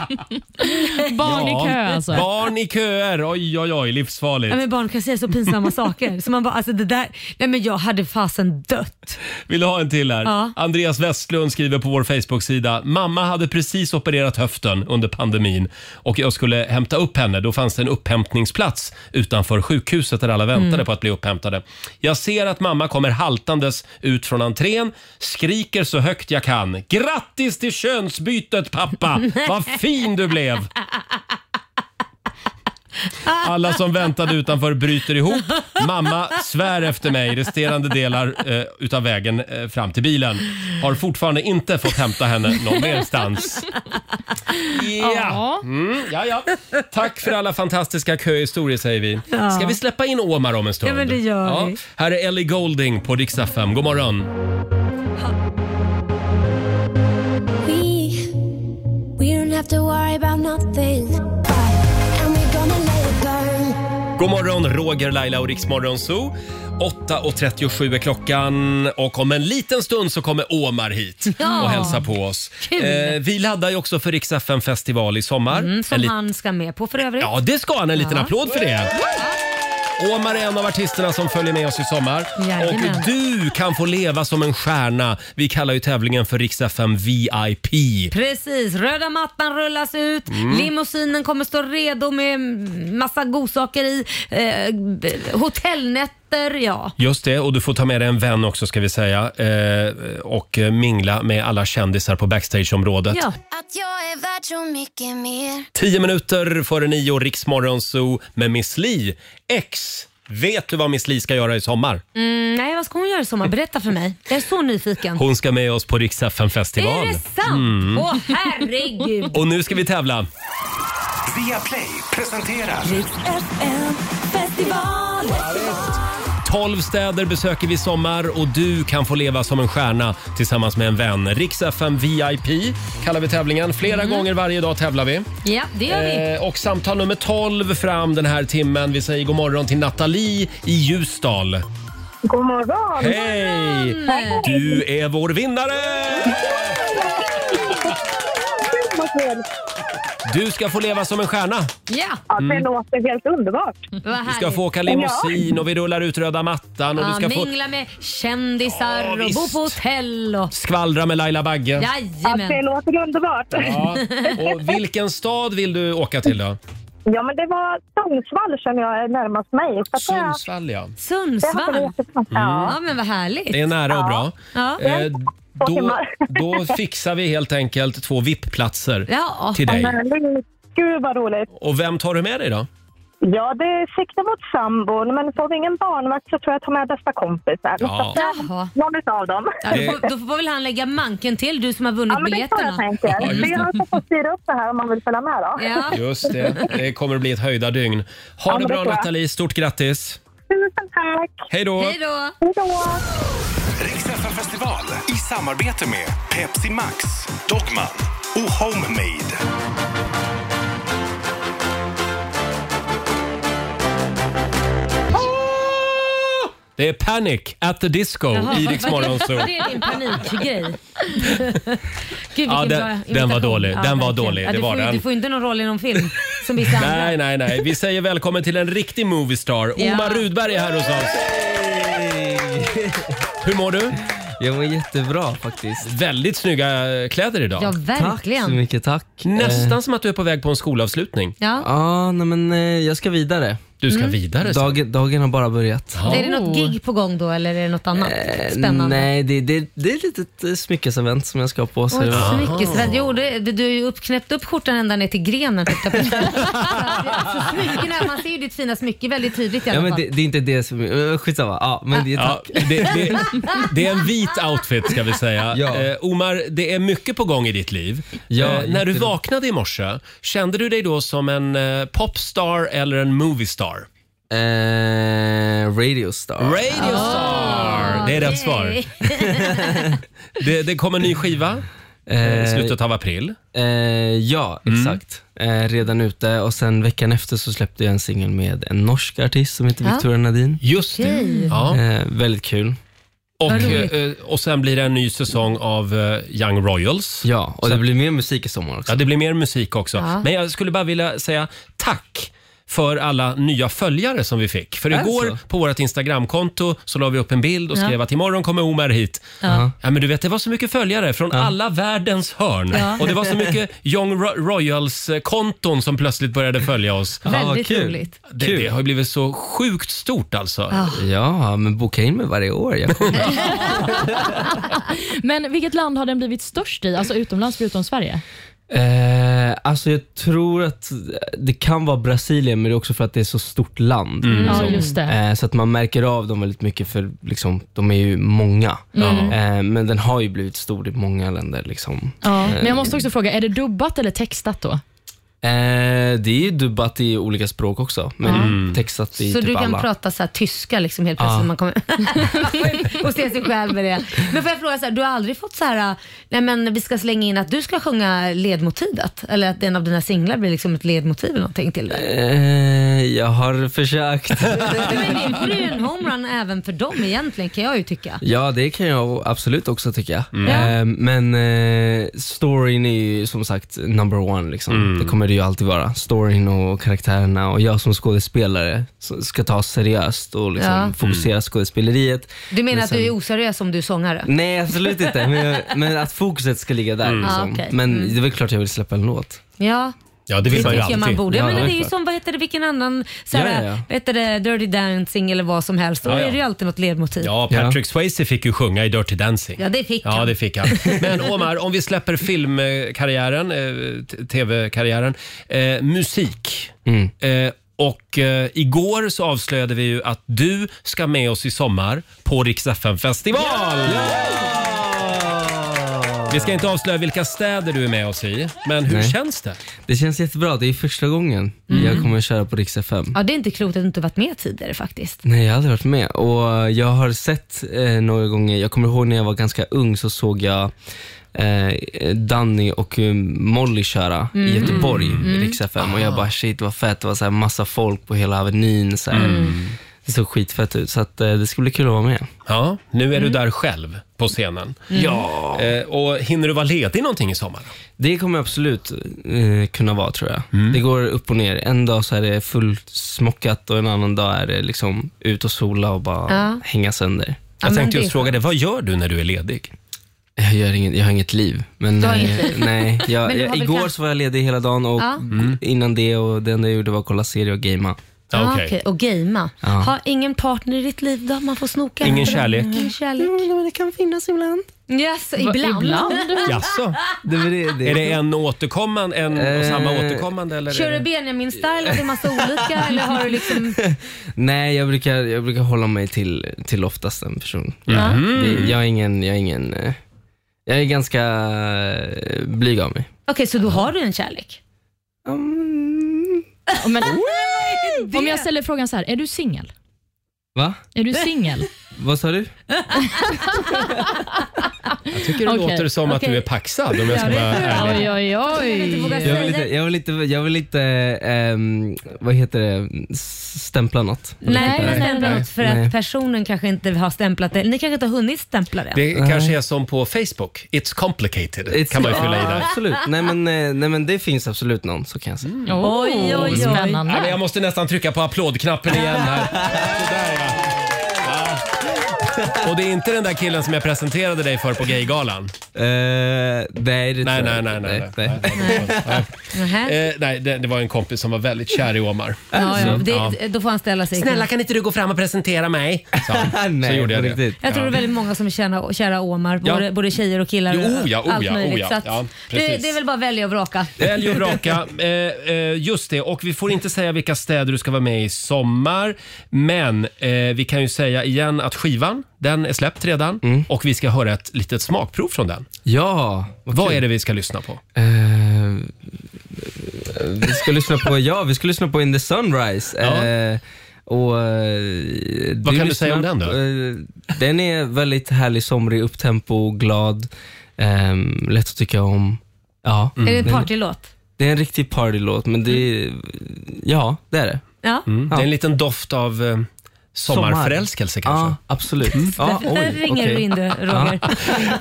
B: Nej!
F: Barn i kö alltså.
A: Barn i köer, oj oj oj, livsfarligt.
B: Ja, men barn kan säga så pinsamma saker. Så man bara, alltså det där, nej men jag hade fasen dött.
A: Vill du ha en till här?
B: Ja.
A: Andreas Westlund skriver på vår Facebook-sida. Mamma hade precis opererat höften under pandemin och jag skulle hämta upp henne. Då fanns det en upphämtningsplats utanför sjukhuset där alla väntade
P: Mm.
A: på att bli upphämtade. Jag ser att mamma kommer haltandes ut från entrén, skriker så högt jag kan. Grattis till könsbytet pappa! Vad fin du blev! Alla som väntade utanför bryter ihop. Mamma svär efter mig resterande delar eh, utav vägen eh, fram till bilen. Har fortfarande inte fått hämta henne någon merstans. Ja. Mm, ja, ja. Tack för alla fantastiska köhistorier säger vi.
B: Ja.
A: Ska vi släppa in Omar om en stund?
B: Ja, men det gör vi.
A: Här är Ellie Golding på Rix FM. God morgon.
G: [laughs] We, we don't have to worry about nothing. And we're gonna let it burn.
A: God morgon, Roger, Laila och Riksmorgon Zoo. 8.37 är klockan och om en liten stund så kommer Omar hit
B: Ja.
A: och hälsa på oss. Eh,
B: Kul.
A: vi laddar ju också för Rix FM festival i sommar.
B: Mm, som
A: En lit-
B: han ska med på för övrigt.
A: Ja, det ska han. En liten
B: Ja.
A: applåd för det. Omar är en av artisterna som följer med oss i sommar.
B: Jajamän.
A: Och du kan få leva som en stjärna. Vi kallar ju tävlingen för Rix FM VIP.
B: Precis, röda mattan rullas ut,
A: Mm.
B: limousinen kommer stå redo med massa godsaker i, eh, b- hotellnätter, ja.
A: Just det, och du får ta med dig en vän också ska vi säga. Eh, och eh, mingla med alla kändisar på backstageområdet.
G: Att jag är värd så mycket mer.
A: Tio minuter före nio, Riksmorgon Zoo med Miss Li. X, vet du vad Miss Li ska göra i sommar?
B: Mm, nej, vad ska hon göra i sommar? Berätta för mig. Jag är så nyfiken.
A: Hon ska med oss på Rix festival
B: Är det sant?
A: Mm.
B: Åh herregud.
A: Och nu ska vi tävla.
C: Via Play presenterar...
G: Festival.
A: 12 städer besöker vi i sommar och du kan få leva som en stjärna tillsammans med en vän. Rix FM VIP kallar vi tävlingen. Flera gånger varje dag tävlar vi.
B: Ja, Mm. det gör vi.
A: Eh, och samtal nummer 12 fram den här timmen. Vi säger god morgon till Nathalie i Ljusdal.
G: God morgon!
A: Hej! Du är vår vinnare! Du ska få leva som en stjärna.
B: Ja.
P: ja det
A: Mm.
P: låter helt underbart.
A: Du ska få åka limousin och vi rullar ut röda mattan och du
B: Ja,
A: ska få
B: mingla med kändisar och bo på hotell. Och...
A: skvallra med Laila Bagge.
B: Jajamän.
P: det låter underbart.
A: Ja. Och vilken stad vill du åka till då?
P: Ja, men det var Sundsvall som jag är närmast mig. Så att
A: Sundsvall, ja.
P: Det hade
B: Sundsvall.
P: varit jättebra. Ja.
B: Ja, men vad härligt.
A: Mm. Det är nära och bra.
B: Ja.
A: Eh, Då,
P: timmar.
A: då fixar vi helt enkelt två VIP-platser till
P: Ja,
A: dig.
P: men det- Gud vad roligt.
A: Och vem tar du med dig då?
P: Ja, det siktar mot sambon, men får vi ingen barnvakt så tror jag att jag tar med bästa kompisen.
A: Ja.
P: Så att jag- Någon utav dem.
B: Ja, då, får, då får väl han lägga manken till, du som har vunnit
P: Ja, men det är så
B: biljetterna.
P: jag tänker.
A: Ja, just
P: Så
A: det.
P: jag ska få alltså styra upp det här om man vill följa med då.
A: Just det, det kommer bli ett höjdardygn.
P: Ja,
A: Ha
P: men
A: det
P: det
A: bra
P: tror jag.
A: Nathalie, stort grattis!
P: Tusen tack!
A: Hej då!
B: då!
P: Hej då!
C: Rix FM festival i samarbete med Pepsi Max, Dogman och Homemade.
A: Det är Panic at the Disco
B: Jaha,
A: i
B: vad-
A: Rix
B: vad-
A: Morgon
B: vad
A: Zoo.
B: är [laughs] det din panikgrej?
A: [laughs]
B: Gud, vilken
A: Ja,
B: bra
A: den, den var
B: imitation.
A: dålig.
B: Ja,
A: Den var
B: verkligen.
A: dålig,
B: Ja,
A: det
B: du,
A: var
B: får, ju-
A: den.
B: du får ju inte någon roll i någon film som vissa andra.
A: Nej, nej, nej. Vi säger välkommen till en riktig moviestar.
B: Ja.
A: Omar Rudberg är här hos oss. Hur mår du?
Q: Jag mår jättebra faktiskt.
A: Väldigt snygga eh, kläder idag.
B: Ja, verkligen.
Q: Tack så mycket, tack.
A: Nästan
Q: Eh,
A: som att du är på väg på en skolavslutning.
B: Ja.
Q: Ja, nej, men eh, jag ska vidare.
A: Du ska Mm. vidare, så.
Q: Dagen, dagen har bara börjat.
B: Är det något gig på gång då eller är det något annat
A: Eh,
B: spännande?
Q: Nej, det, det, det är ett litet eh, smyckesevent som jag ska på.
B: Oj,
Q: det-
B: så mycket svett. Jo, det, det, du har ju uppknäppt upp skjortan ända ner till grenen. [laughs] tänkte jag på. Så smyckena, alltså, man ser ju ditt fina smycke väldigt tydligt i alla
Q: Ja,
B: fall.
Q: men det, det är inte det som... eh, Skitsamma. Ja, men det är
A: Ja,
Q: tack.
A: det, det, det är [laughs] en vit outfit ska vi säga.
Q: [laughs] Ja.
A: Eh, Omar, det är mycket på gång i ditt liv.
Q: Ja,
A: eh, när du
Q: jättemycket.
A: vaknade i morse, kände du dig då som en eh, popstar eller en moviestar?
Q: Eh, radio Star.
A: Ah, Radio Star! det är rätt [laughs] svar. det, det kommer en ny skiva eh, i slutet av april. Mm.
Q: Eh, ja, exakt. Eh, redan ute och sen veckan efter så släppte jag en singel med en norsk artist som heter
A: Ja.
Q: Victoria Nadin.
A: Just det. Okej. Ja.
Q: Eh, väldigt kul.
A: Och,
Q: Vad roligt.
A: eh, och sen blir det en ny säsong av eh, Young Royals.
Q: Ja, och det blir mer musik i sommar också.
A: Ja, det blir mer musik också.
Q: Ja.
A: Men jag skulle bara vilja säga tack för alla nya följare som vi fick. För
Q: Är det
A: igår
Q: så?
A: på vårt Instagramkonto så la vi upp en bild och
B: Ja.
A: skrev att imorgon kommer Omar hit.
B: Ja.
A: Ja, men du vet, det var så mycket följare från alla världens hörn.
B: Ja.
A: Och det var så mycket Young Ro- Royals-konton som plötsligt började följa oss.
B: Ja, vad Väldigt kul. roligt.
A: Det, det har ju blivit så sjukt stort alltså.
B: Ja.
Q: Ja, men boka in mig varje år.
A: [laughs]
Q: Jag kommer.
F: Men vilket land har den blivit störst i, alltså utomlands förutom Sverige?
Q: Eh, alltså jag tror att det kan vara Brasilien, men det är också för att det är så stort land.
F: Mm. Ja, just det.
Q: Eh, så att man märker av dem väldigt mycket, för liksom, de är ju många.
F: Mm.
Q: Eh, men den har ju blivit stor i många länder. Liksom.
F: Ja.
Q: Eh,
F: Men jag måste också fråga, är det dubbat eller textat då?
Q: eh, det är ju dubbat i olika språk också, men
F: Mm.
Q: textat i
B: Så
Q: typ
B: du kan
Q: alla.
B: prata så här tyska liksom helt plötsligt
Q: Ja.
B: när man kommer [laughs] och ser sig själv med det. Men får jag fråga, så här, du har aldrig fått så här, nej men vi ska slänga in att du ska sjunga ledmotivet? Eller att en av dina singlar blir liksom ett ledmotiv eller någonting till det?
Q: Eh, jag
F: [laughs]
Q: har försökt.
B: Men det vore ju en homerun även för dem egentligen kan jag ju tycka.
Q: Ja, det kan jag absolut också tycka.
B: Mm. Mm.
Q: Eh, men eh, storyn är ju som sagt number one. Liksom. Det kommer det det ju alltid vara. Storyn och karaktärerna och jag som skådespelare s- ska ta seriöst och liksom
B: Ja.
Q: fokusera skådespeleriet.
B: Du menar
Q: Men
B: att du
Q: sen- Mm.
B: är oseriös om du är sångare?
Q: Nej, absolut inte. Men, jag, men att fokuset ska ligga där.
B: Mm.
Q: Liksom.
B: Ah, okej.
Q: Men
B: Mm.
Q: det är väl klart jag vill släppa en låt.
B: Ja.
A: Ja,
B: det tycker jag man borde. Ja, men det är ju
Q: klart.
B: som, vad heter det, vilken annan, så
Q: Ja,
B: här,
Q: ja, ja.
B: Vad heter det, Dirty Dancing eller vad som helst. Då
A: Ja, ja.
B: är det ju alltid något ledmotiv.
A: Ja, Patrick Swayze fick ju sjunga i Dirty Dancing.
B: Ja, det fick
A: Ja,
B: han.
A: det fick han. Men Omar, om vi släpper filmkarriären, eh, t- tv-karriären, eh, musik. Eh, och eh, igår så avslöjade vi ju att du ska med oss i sommar på Rix festival Vi ska inte avslöja vilka städer du är med oss i, men hur
Q: Nej.
A: känns det?
Q: Det känns jättebra. Det är första gången
B: Mm.
Q: jag kommer att köra på Rix FM.
B: Ja, det är inte klokt att du inte varit med tidigare faktiskt.
Q: Nej, jag har aldrig varit med. Och jag har sett eh, några gånger, jag kommer ihåg när jag var ganska ung så såg jag eh, Danny och eh, Molly köra
R: Mm.
Q: i Göteborg,
R: Mm.
Q: i Rix FM. Och
B: Ah.
Q: jag bara shit vad fett, det var så här massa folk på hela Avenyn. Så här.
A: Mm.
Q: Det såg skitfett ut, så att, eh, det ska bli kul att vara med.
A: Ja, nu är du där själv på scenen.
Q: Mm.
A: Ja. Eh, och hinner du vara ledig någonting i sommar?
Q: Det kommer jag absolut eh, kunna vara tror jag. Det går upp och ner. En dag så är det fullsmockat och en annan dag är det liksom ut och sola och bara
B: Ja.
Q: hänga sönder.
B: Jag men tänkte det just är fråga
A: dig, vad gör du när du är ledig?
Q: Jag, gör inget, jag har inget liv. Men,
B: Du har
Q: eh,
B: inget liv.
Q: [laughs] Nej, jag,
B: Men du har
Q: jag,
B: väl
Q: igår
B: kanske-
Q: så var jag ledig hela dagen och
B: Ja.
A: Mm.
Q: innan det och det enda jag gjorde var att kolla serier och gamea.
B: Ja, Ah, okej. Och gamea.
Q: Ja.
B: Ha ingen partner i ditt liv då, man får snoka.
Q: Ingen kärlek.
B: Ingen kärlek. men det kan finnas ibland. Yes,
F: Va-
B: ibland.
F: ibland?
A: Jaså? Är det en återkommande, en
Q: Eh.
A: och samma återkommande? Eller
B: Kör
A: är
B: du
A: det...
B: Benjamin-style? Har du massa olika? Eller har du liksom...
Q: Nej, jag brukar, jag brukar hålla mig till, till oftast en person.
B: Ja. Mhm.
Q: Det, jag är ingen, jag är ingen, eh, jag är ganska eh, blyg av mig.
B: Okej, så då har du en kärlek?
A: Mm.
F: Om, men, om jag ställer frågan så här, är du singel?
Q: Va?
F: Är du singel?
Q: Vad sa du?
A: Jag tycker det
F: Okej.
A: låter som att du
F: Okej.
A: är paxad om jag ska
F: Ja, det-
A: vara ärlig.
F: Oj, oj, oj.
Q: Jag vill inte, jag vill inte, jag vill inte ehm, vad heter det, stämpla något. Jag vill
B: Nej,
Q: inte-
B: men stämpla något för att
Q: Nej.
B: personen kanske inte har stämplat det. Ni kanske inte har hunnit stämpla det.
A: Det kanske är som på Facebook. It's complicated kan man ju fylla i
Q: Ja,
A: där.
Q: Absolut. Nej men, eh, nej men det finns absolut någon, så kan jag säga.
A: Mm.
B: Oj, oj, oj. Spännande.
A: Ja, men jag måste nästan trycka på applådknappen igen här. Sådär, ja. Ja. Och det är inte den där killen som jag presenterade dig för på gaygalan?
Q: Eh, nej,
A: nej,
Q: det
A: nej, nej, nej, nej.
B: Nähä.
A: Eh, nej, det, det var en kompis som var väldigt kär i Omar.
B: Ja, ja,
A: Så, ja.
B: det, då får han ställa sig.
A: Snälla, kan inte du gå fram och presentera [laughs] mig? Så,
Q: [laughs] Nej,
A: så gjorde jag
Q: på
A: det.
Q: riktigt.
B: Jag tror det är väldigt många som är kära, kära Omar,
A: Ja.
B: både, både tjejer och killar.
A: Jo, oh ja, oh
B: allt
A: ja, oh
B: möjligt.
A: ja.
B: Så att
A: Ja, precis.
B: det, det är väl bara att välja och vraka.
A: Välj och
B: [laughs]
A: vraka. Eh, eh, just det, och vi får inte säga vilka städer du ska vara med i sommar. Men eh, vi kan ju säga igen att skivan, den är släppt redan. Och vi ska höra ett litet smakprov från den.
Q: Mm. Ja,
A: Vad, är det vi ska lyssna på?
Q: Eh, vi ska lyssna på, ja, vi ska lyssna på In the Sunrise. Eh, och, eh, Vad
A: kan du säga om den då?
Q: Eh, den är väldigt härlig, somrig, upptempo, glad, ehm, lätt att tycka om. Ja,
B: Mm. Är det en
Q: Den-
B: partylåt?
Q: Det är en riktig partylåt, men det är, ja, det är det.
B: Ja.
A: Mm.
Q: Ja.
A: Det är en liten doft av eh, sommarförälskelse kanske.
Q: Ja, absolut. Ja,
B: Där- där ringer du in det, Roger.
A: Mm.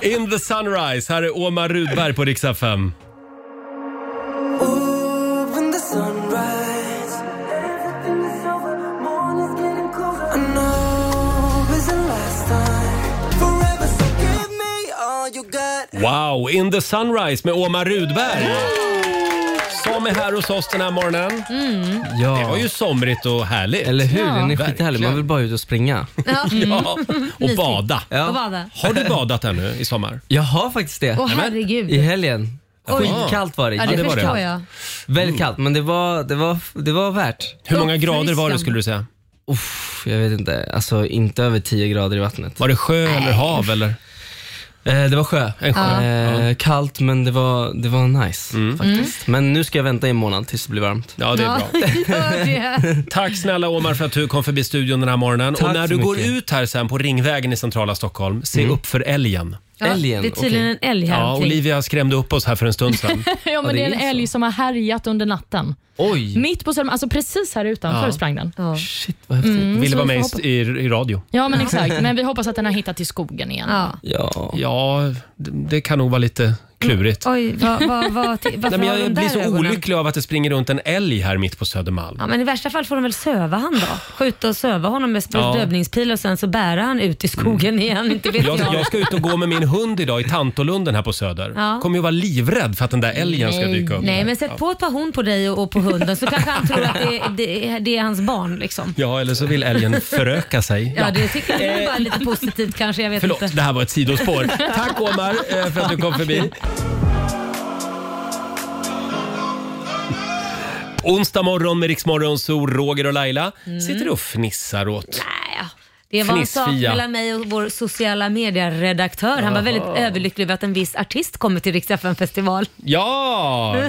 A: [laughs] in the sunrise, här är Omar Rudberg på riksdag 5.
K: Open the sunrise. Everything is over. Morn is getting colder. I know it's the last time. Forever, so give me all you got.
A: Wow, In the sunrise med Omar Rudberg. Som är här hos oss den här morgonen.
Q: Ja.
A: Det var ju somrigt och härligt.
Q: Eller hur? Den är
A: Ja.
Q: skithärlig. Man vill bara ut och springa.
B: Ja.
A: [laughs]
B: Mm.
A: Ja, och
B: Mysigt.
A: bada.
B: Och bada.
A: Har du badat ännu i sommar?
Q: [laughs] Jag har faktiskt det.
B: Åh,
Q: Nämen.
B: herregud.
Q: I helgen.
B: [laughs] Oj.
Q: Skitkallt var det.
B: Ja, det, förstår jag.
Q: Väldigt kallt, men det var, det var, det var värt.
A: Hur många grader var det skulle du säga?
Q: Uff, jag vet inte. Alltså inte över 10 grader i vattnet.
A: Var det sjö eller hav? Eller?
Q: Eh, det var sjö.
A: En sjö. Mm.
Q: Eh, Kallt, men det var, det var nice faktiskt.
B: Mm.
Q: Men nu ska jag vänta i en månad tills det blir varmt.
A: Ja, det är bra.
B: Gör det.
A: Tack snälla Omar för att du kom förbi studion den här morgonen. och
Q: Tack
A: när
Q: så
A: du går
Q: mycket.
A: ut här sen på Ringvägen i centrala Stockholm, se upp för älgen.
B: Ja, Älgen, det är tydligen okej. en älg här
A: Ja,
B: omkring.
A: Olivia skrämde upp oss här för en stund
B: [laughs]
A: sedan.
F: [laughs] ja, men det är en älg som har härjat under natten.
Q: Oj!
F: Mitt på Södermalm, alltså precis här utanför
A: Ja.
F: sprang den.
Q: Shit vad
F: häftigt. Mm,
A: Ville
F: så
A: vara
F: vi
A: med
F: får
A: i, i, i radio.
F: Ja, men exakt. Men vi hoppas att den har hittat till skogen igen.
A: Ja, ja det, det kan nog vara lite klurigt.
B: Oj, vad, vad, vad, ti-
A: [laughs] Nej,
B: varför
A: men
B: har
A: jag
B: de
A: blir
B: där
A: så
B: ögonen?
A: olycklig av att det springer runt en älg här mitt på Södermalm.
B: Ja, men I värsta fall får de väl söva han då? Skjuta och söva honom med
A: Ja. Mm.
B: dövningspil och sen så bära han ut i skogen igen. Inte vet
A: Jag, jag ska ut och gå med min hund idag i Tantolunden här på Söder.
B: Ja.
A: Kommer ju vara livrädd för att den där älgen ska dyka upp.
B: Nej, men sätt på ett par horn på dig och, och på hunden så kanske han tror att det, är- det, är- det är hans barn. Liksom.
A: Ja, eller så vill älgen föröka sig.
B: Ja, det tycker jag det är bara lite positivt kanske. Jag vet
A: Eh. Förlåt,
B: inte.
A: det här var ett
B: [laughs]
A: sidospår. [laughs] Tack Omar eh, för att du kom förbi. Onsdag morgon med Riksmorgon, så Roger och Laila
B: Mm.
A: sitter och fnissar åt.
B: Det var en sak
A: Fnissfia.
B: mellan mig och vår sociala medieredaktör. Han var
A: Jaha.
B: väldigt överlycklig över att en viss artist kommer till Rix festival
A: Ja!
B: [laughs]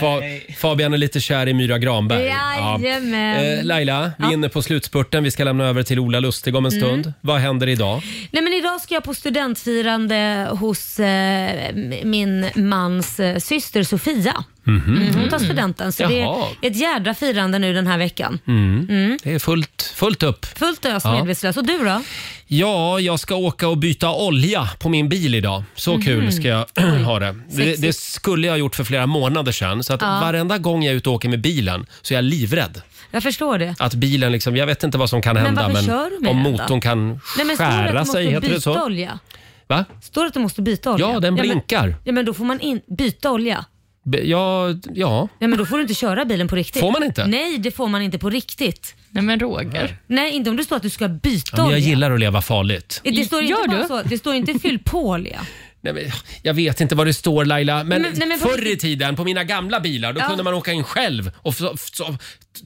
A: Fa Fabian är lite kär i Myra Granberg. Ja.
B: Jajamän.
A: Eh, Laila, vi är
B: Ja.
A: inne på slutspurten. Vi ska lämna över till Ola Lustig om en
B: Mm.
A: stund. Vad händer idag?
B: Nej, men idag ska jag på studentfirande hos eh, m- min mans eh, syster Sofia. Mm, hon tar studenten, så det
A: Mhm. Jaha.
B: är ett jädra firande nu den här veckan.
A: Mm.
B: Mm.
A: Det är fullt, fullt upp.
B: Fullt ös
A: Ja.
B: medvetslös. Och du då?
A: Ja, jag ska åka och byta olja på min bil idag. Så
B: Mhm.
A: kul ska jag [clears throat] ha det. det.
B: Sexigt.
A: Det skulle jag ha gjort för flera månader sedan. Så att
B: Ja.
A: varenda gång jag är ute och åker med bilen så är jag livrädd.
B: Jag förstår det.
A: Att bilen liksom, jag vet inte vad som kan
B: Men
A: hända
B: varför kör du med
A: om
B: den då?
A: motorn kan
B: Nej, men står det att du
A: skära
B: måste
A: sig. Heter det
B: byta
A: så?
B: olja?
A: Va?
B: Står det att du måste byta olja?
A: Ja, den
B: men-
A: blinkar.
B: Ja, men då får man in, byta olja.
A: Be- Ja, ja.
B: Ja, men då får du inte köra bilen på riktigt.
A: Får man inte?
B: Nej, det får man inte på riktigt.
F: Nej, men Roger.
B: Nej, inte om det står att du ska byta
A: Ja, men jag
B: olja.
A: gillar att leva farligt.
B: Det står inte
F: Gör
B: bara
F: du?
B: så. Det står inte fyll på olja.
A: Nej, men, jag vet inte vad det står Laila, men,
B: Men- nej, men på
A: förr i
B: riktigt-
A: tiden på mina gamla bilar då
B: Ja.
A: kunde man åka in själv och så, så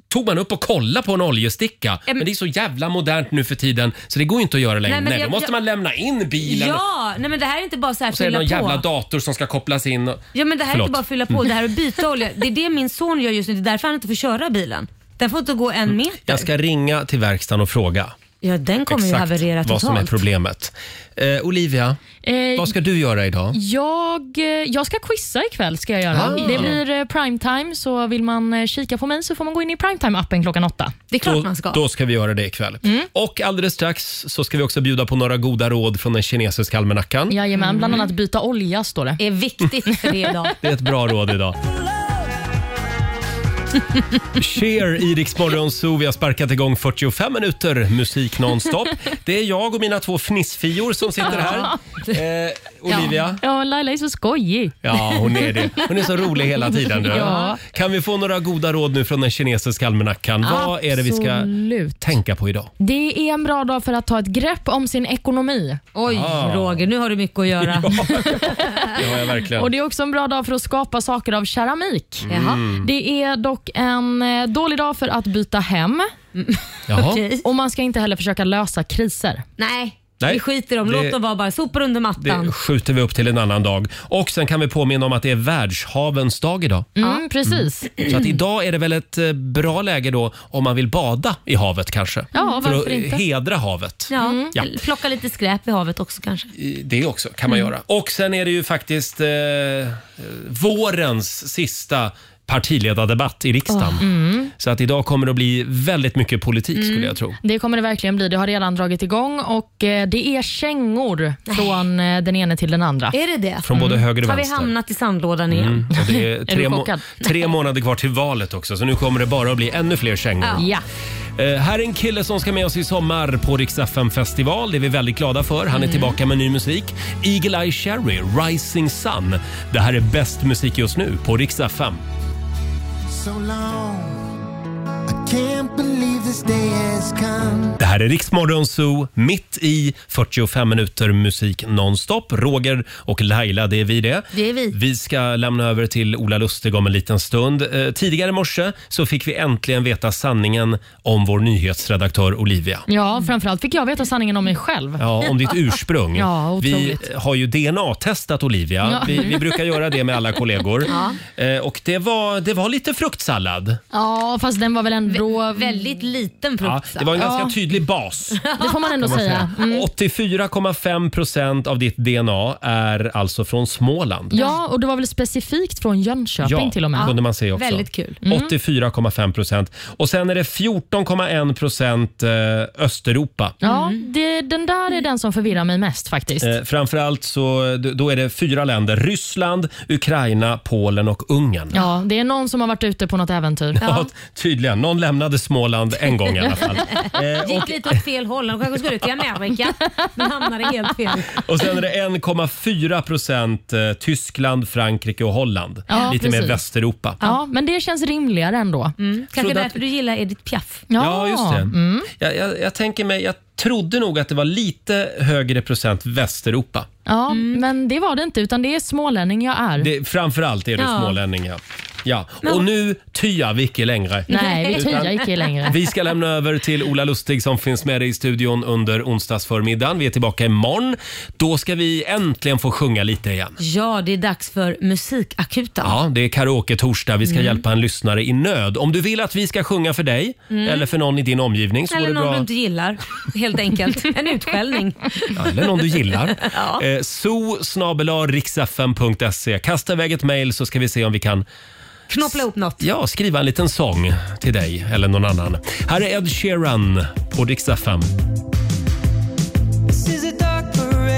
A: tog man upp och kolla på en oljesticka.
B: Em-
A: men det är så jävla modernt nu för tiden så det går ju inte att göra längre.
B: Nej,
A: Nej,
B: men
A: då
B: jag-
A: måste
B: jag-
A: man lämna in bilen
B: Ja, nej men det här är inte bara så här
A: och så är det
B: fylla
A: någon
B: på.
A: jävla dator som ska kopplas in. och-
B: Ja men det här är
A: Förlåt. Mm.
B: inte bara att fylla på, det här är att byta olja. Det är det min son gör just nu, det är därför han inte får köra bilen. Den får inte gå en meter.
A: Mm. Jag ska ringa till verkstaden och fråga
B: Ja den kommer ju
A: exakt
B: haverera
A: vad
B: totalt.
A: som är problemet. Eh, Olivia,
F: Eh,
A: vad ska du göra idag?
F: Jag, eh, jag ska quizza ikväll. Ska jag göra.
A: Ah.
F: Det blir eh, primetime, så vill man eh, kika på mig så får man gå in i primetime-appen klockan åtta.
B: Det är
A: då, Då ska vi göra det ikväll.
F: Mm.
A: Och alldeles strax så ska vi också bjuda på några goda råd från den kinesiska almanackan.
F: Jajamän, bland
A: Mm.
F: annat byta olja står det.
B: är viktigt för det idag.
A: Det är ett bra råd
F: [laughs]
A: idag. Cher i Rix Morgon Zoo. Vi har sparkat igång 45 minuter musik nonstop. Det är jag och mina två fnissfior som [laughs] sitter här. Eh, Olivia?
F: Ja. ja, Laila är så skojig.
A: Ja, hon är det. Hon är så rolig hela tiden. Du.
F: [laughs] Ja.
A: Kan vi få några goda råd nu från den kinesiska almanackan? Vad är det vi ska
F: Absolut.
A: tänka på idag?
F: Det är en bra dag för att ta ett grepp om sin ekonomi.
B: Oj,
A: Ah.
B: Roger, nu har du mycket
A: [laughs]
B: att göra.
A: Det har jag verkligen.
F: Och Det är också en bra dag för att skapa saker av keramik.
A: Jaha. Mm.
F: Det är dock en eh, dålig dag för att byta hem.
A: Mm.
F: [laughs]
A: Jaha. Okej.
F: Och Man ska inte heller försöka lösa kriser.
B: Nej,
A: Nej,
B: vi skiter i dem. Låt
A: det-
B: dem vara bara. Sopor under mattan.
A: Det skjuter vi upp till en annan dag. Och sen kan vi påminna om att det är världshavens dag idag.
F: Mm, Precis.
A: Så att idag är det väl ett eh, bra läge då om man vill bada i havet kanske.
B: Ja,
A: För att
B: varför inte?
A: eh, hedra havet.
B: Ja.
A: Ja.
B: Plocka lite skräp i havet också kanske.
A: Det också kan man
B: Mm.
A: göra. Och sen är det ju faktiskt eh, eh, vårens sista partiledardebatt i riksdagen.
F: Mm.
A: Så att idag kommer det att bli väldigt mycket politik skulle
F: Mm.
A: jag tro.
F: Det kommer det verkligen bli. Det har redan dragit igång och eh, det är kängor från eh, den ene till den andra. Mm.
B: Är det det?
A: Från både höger och
B: Har vi
A: vänster.
B: hamnat i sandlådan igen?
A: Mm. Och
F: [laughs]
A: det är
B: Är
A: tre,
B: du
A: må-
B: chockad?
A: tre månader kvar till valet också, så nu kommer det bara att bli ännu fler kängor.
F: Ja.
A: Eh, här är en kille som ska med oss i sommar på Rix FM festival. Det är vi väldigt glada för. Han är
B: Mm.
A: tillbaka med ny musik. Eagle Eye Cherry, Rising Sun. Det här är bäst musik just nu på Rix FM.
K: So long. I can't believe this day has come.
A: Det här är Riksmorgon Zoo, mitt i 45 minuter musik nonstop. Roger och Laila, det är vi det.
B: Det är vi.
A: Vi ska lämna över till Ola Lustig om en liten stund. Eh, tidigare i morse så fick vi äntligen veta sanningen om vår nyhetsredaktör Olivia.
F: Ja, framförallt fick jag veta sanningen om mig själv.
A: Ja,
F: [laughs]
A: om ditt ursprung.
F: Ja,
A: vi
F: otroligt.
A: har ju DNA-testat Olivia.
F: Ja.
A: Vi, vi brukar göra det med alla kollegor.
F: Ja.
A: Eh, och det var, det var lite fruktsallad.
F: Ja, fast den var väl ändå då...
B: Väldigt liten
A: Ja,
B: fruktsaft.
A: det var en ganska tydlig
F: [laughs]
A: bas.
F: Det får man ändå
A: kan man
F: säga. Mm.
A: säga. 84,5 procent av ditt DNA är alltså från Småland.
F: Ja, och det var väl specifikt från Jönköping till och med.
A: kunde man se också.
F: Mm.
A: 84,5 procent. Och sen är det 14,1 procent eh, Östeuropa.
F: Ja,
B: Mm.
F: det, den där är den som förvirrar mig mest faktiskt.
A: Eh, framförallt så d- då är det fyra länder. Ryssland, Ukraina, Polen och Ungern.
F: Ja, det är någon som har varit ute på något äventyr.
A: Ja, tydligen. Någon lämnade Småland en gång i alla fall.
B: [laughs]
A: Eh,
B: Gick lite åt fel håll. De kanske skulle ut i Amerika men hamnade helt fel.
A: Och sen är det 1,4 procent eh, Tyskland, Frankrike och Holland.
F: Ja,
A: Lite mer
F: precis.
A: Västeuropa.
F: Ja, men det känns rimligare ändå. Mm.
A: Kanske Trodde att- därför
B: Mm. du gillar Edith Piaf.
A: Ja, just det. Jag, jag, jag tänker mig, jag trodde nog att det var lite högre procent Västeuropa.
F: Ja,
B: Mm.
F: men det var det inte, utan det är smålänning jag är.
A: Det, framförallt är det
F: Ja.
A: smålänning, ja. ja.
F: Men-
A: Och nu tyar vi icke längre.
F: Nej, vi
A: Utan
F: tyar icke längre.
A: Vi ska lämna över till Ola Lustig som finns med dig i studion under onsdagsförmiddagen. Vi är tillbaka imorgon. Då ska vi äntligen få sjunga lite igen.
B: Ja, det är dags för musikakuten.
A: Ja, det är karaoke-torsdag. Vi ska
B: Mm.
A: hjälpa en lyssnare i nöd. Om du vill att vi ska sjunga för dig
B: Mm.
A: eller för någon i din omgivning så
B: Eller
A: vore det
B: någon
A: bra...
B: du inte gillar, helt enkelt. En utskällning.
A: Ja, eller någon du gillar.
B: [laughs] Ja.
A: Eh, so Kasta iväg ett mejl så ska vi se om vi kan
B: Knoppla ihop något.
A: ja, skriva en liten sång till dig eller någon annan. Här är Ed Sheeran på Rix FM.
K: This is a dark parade.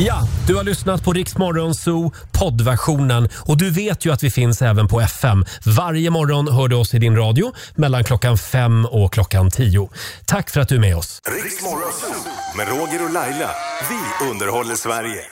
A: Ja, du har lyssnat på Rix Morgon Zoo poddversionen och du vet ju att vi finns även på FM. Varje morgon hör du oss i din radio mellan klockan fem och klockan tio. Tack för att du är med oss.
C: Riks Morgonzoo med Roger och Laila. Vi underhåller Sverige.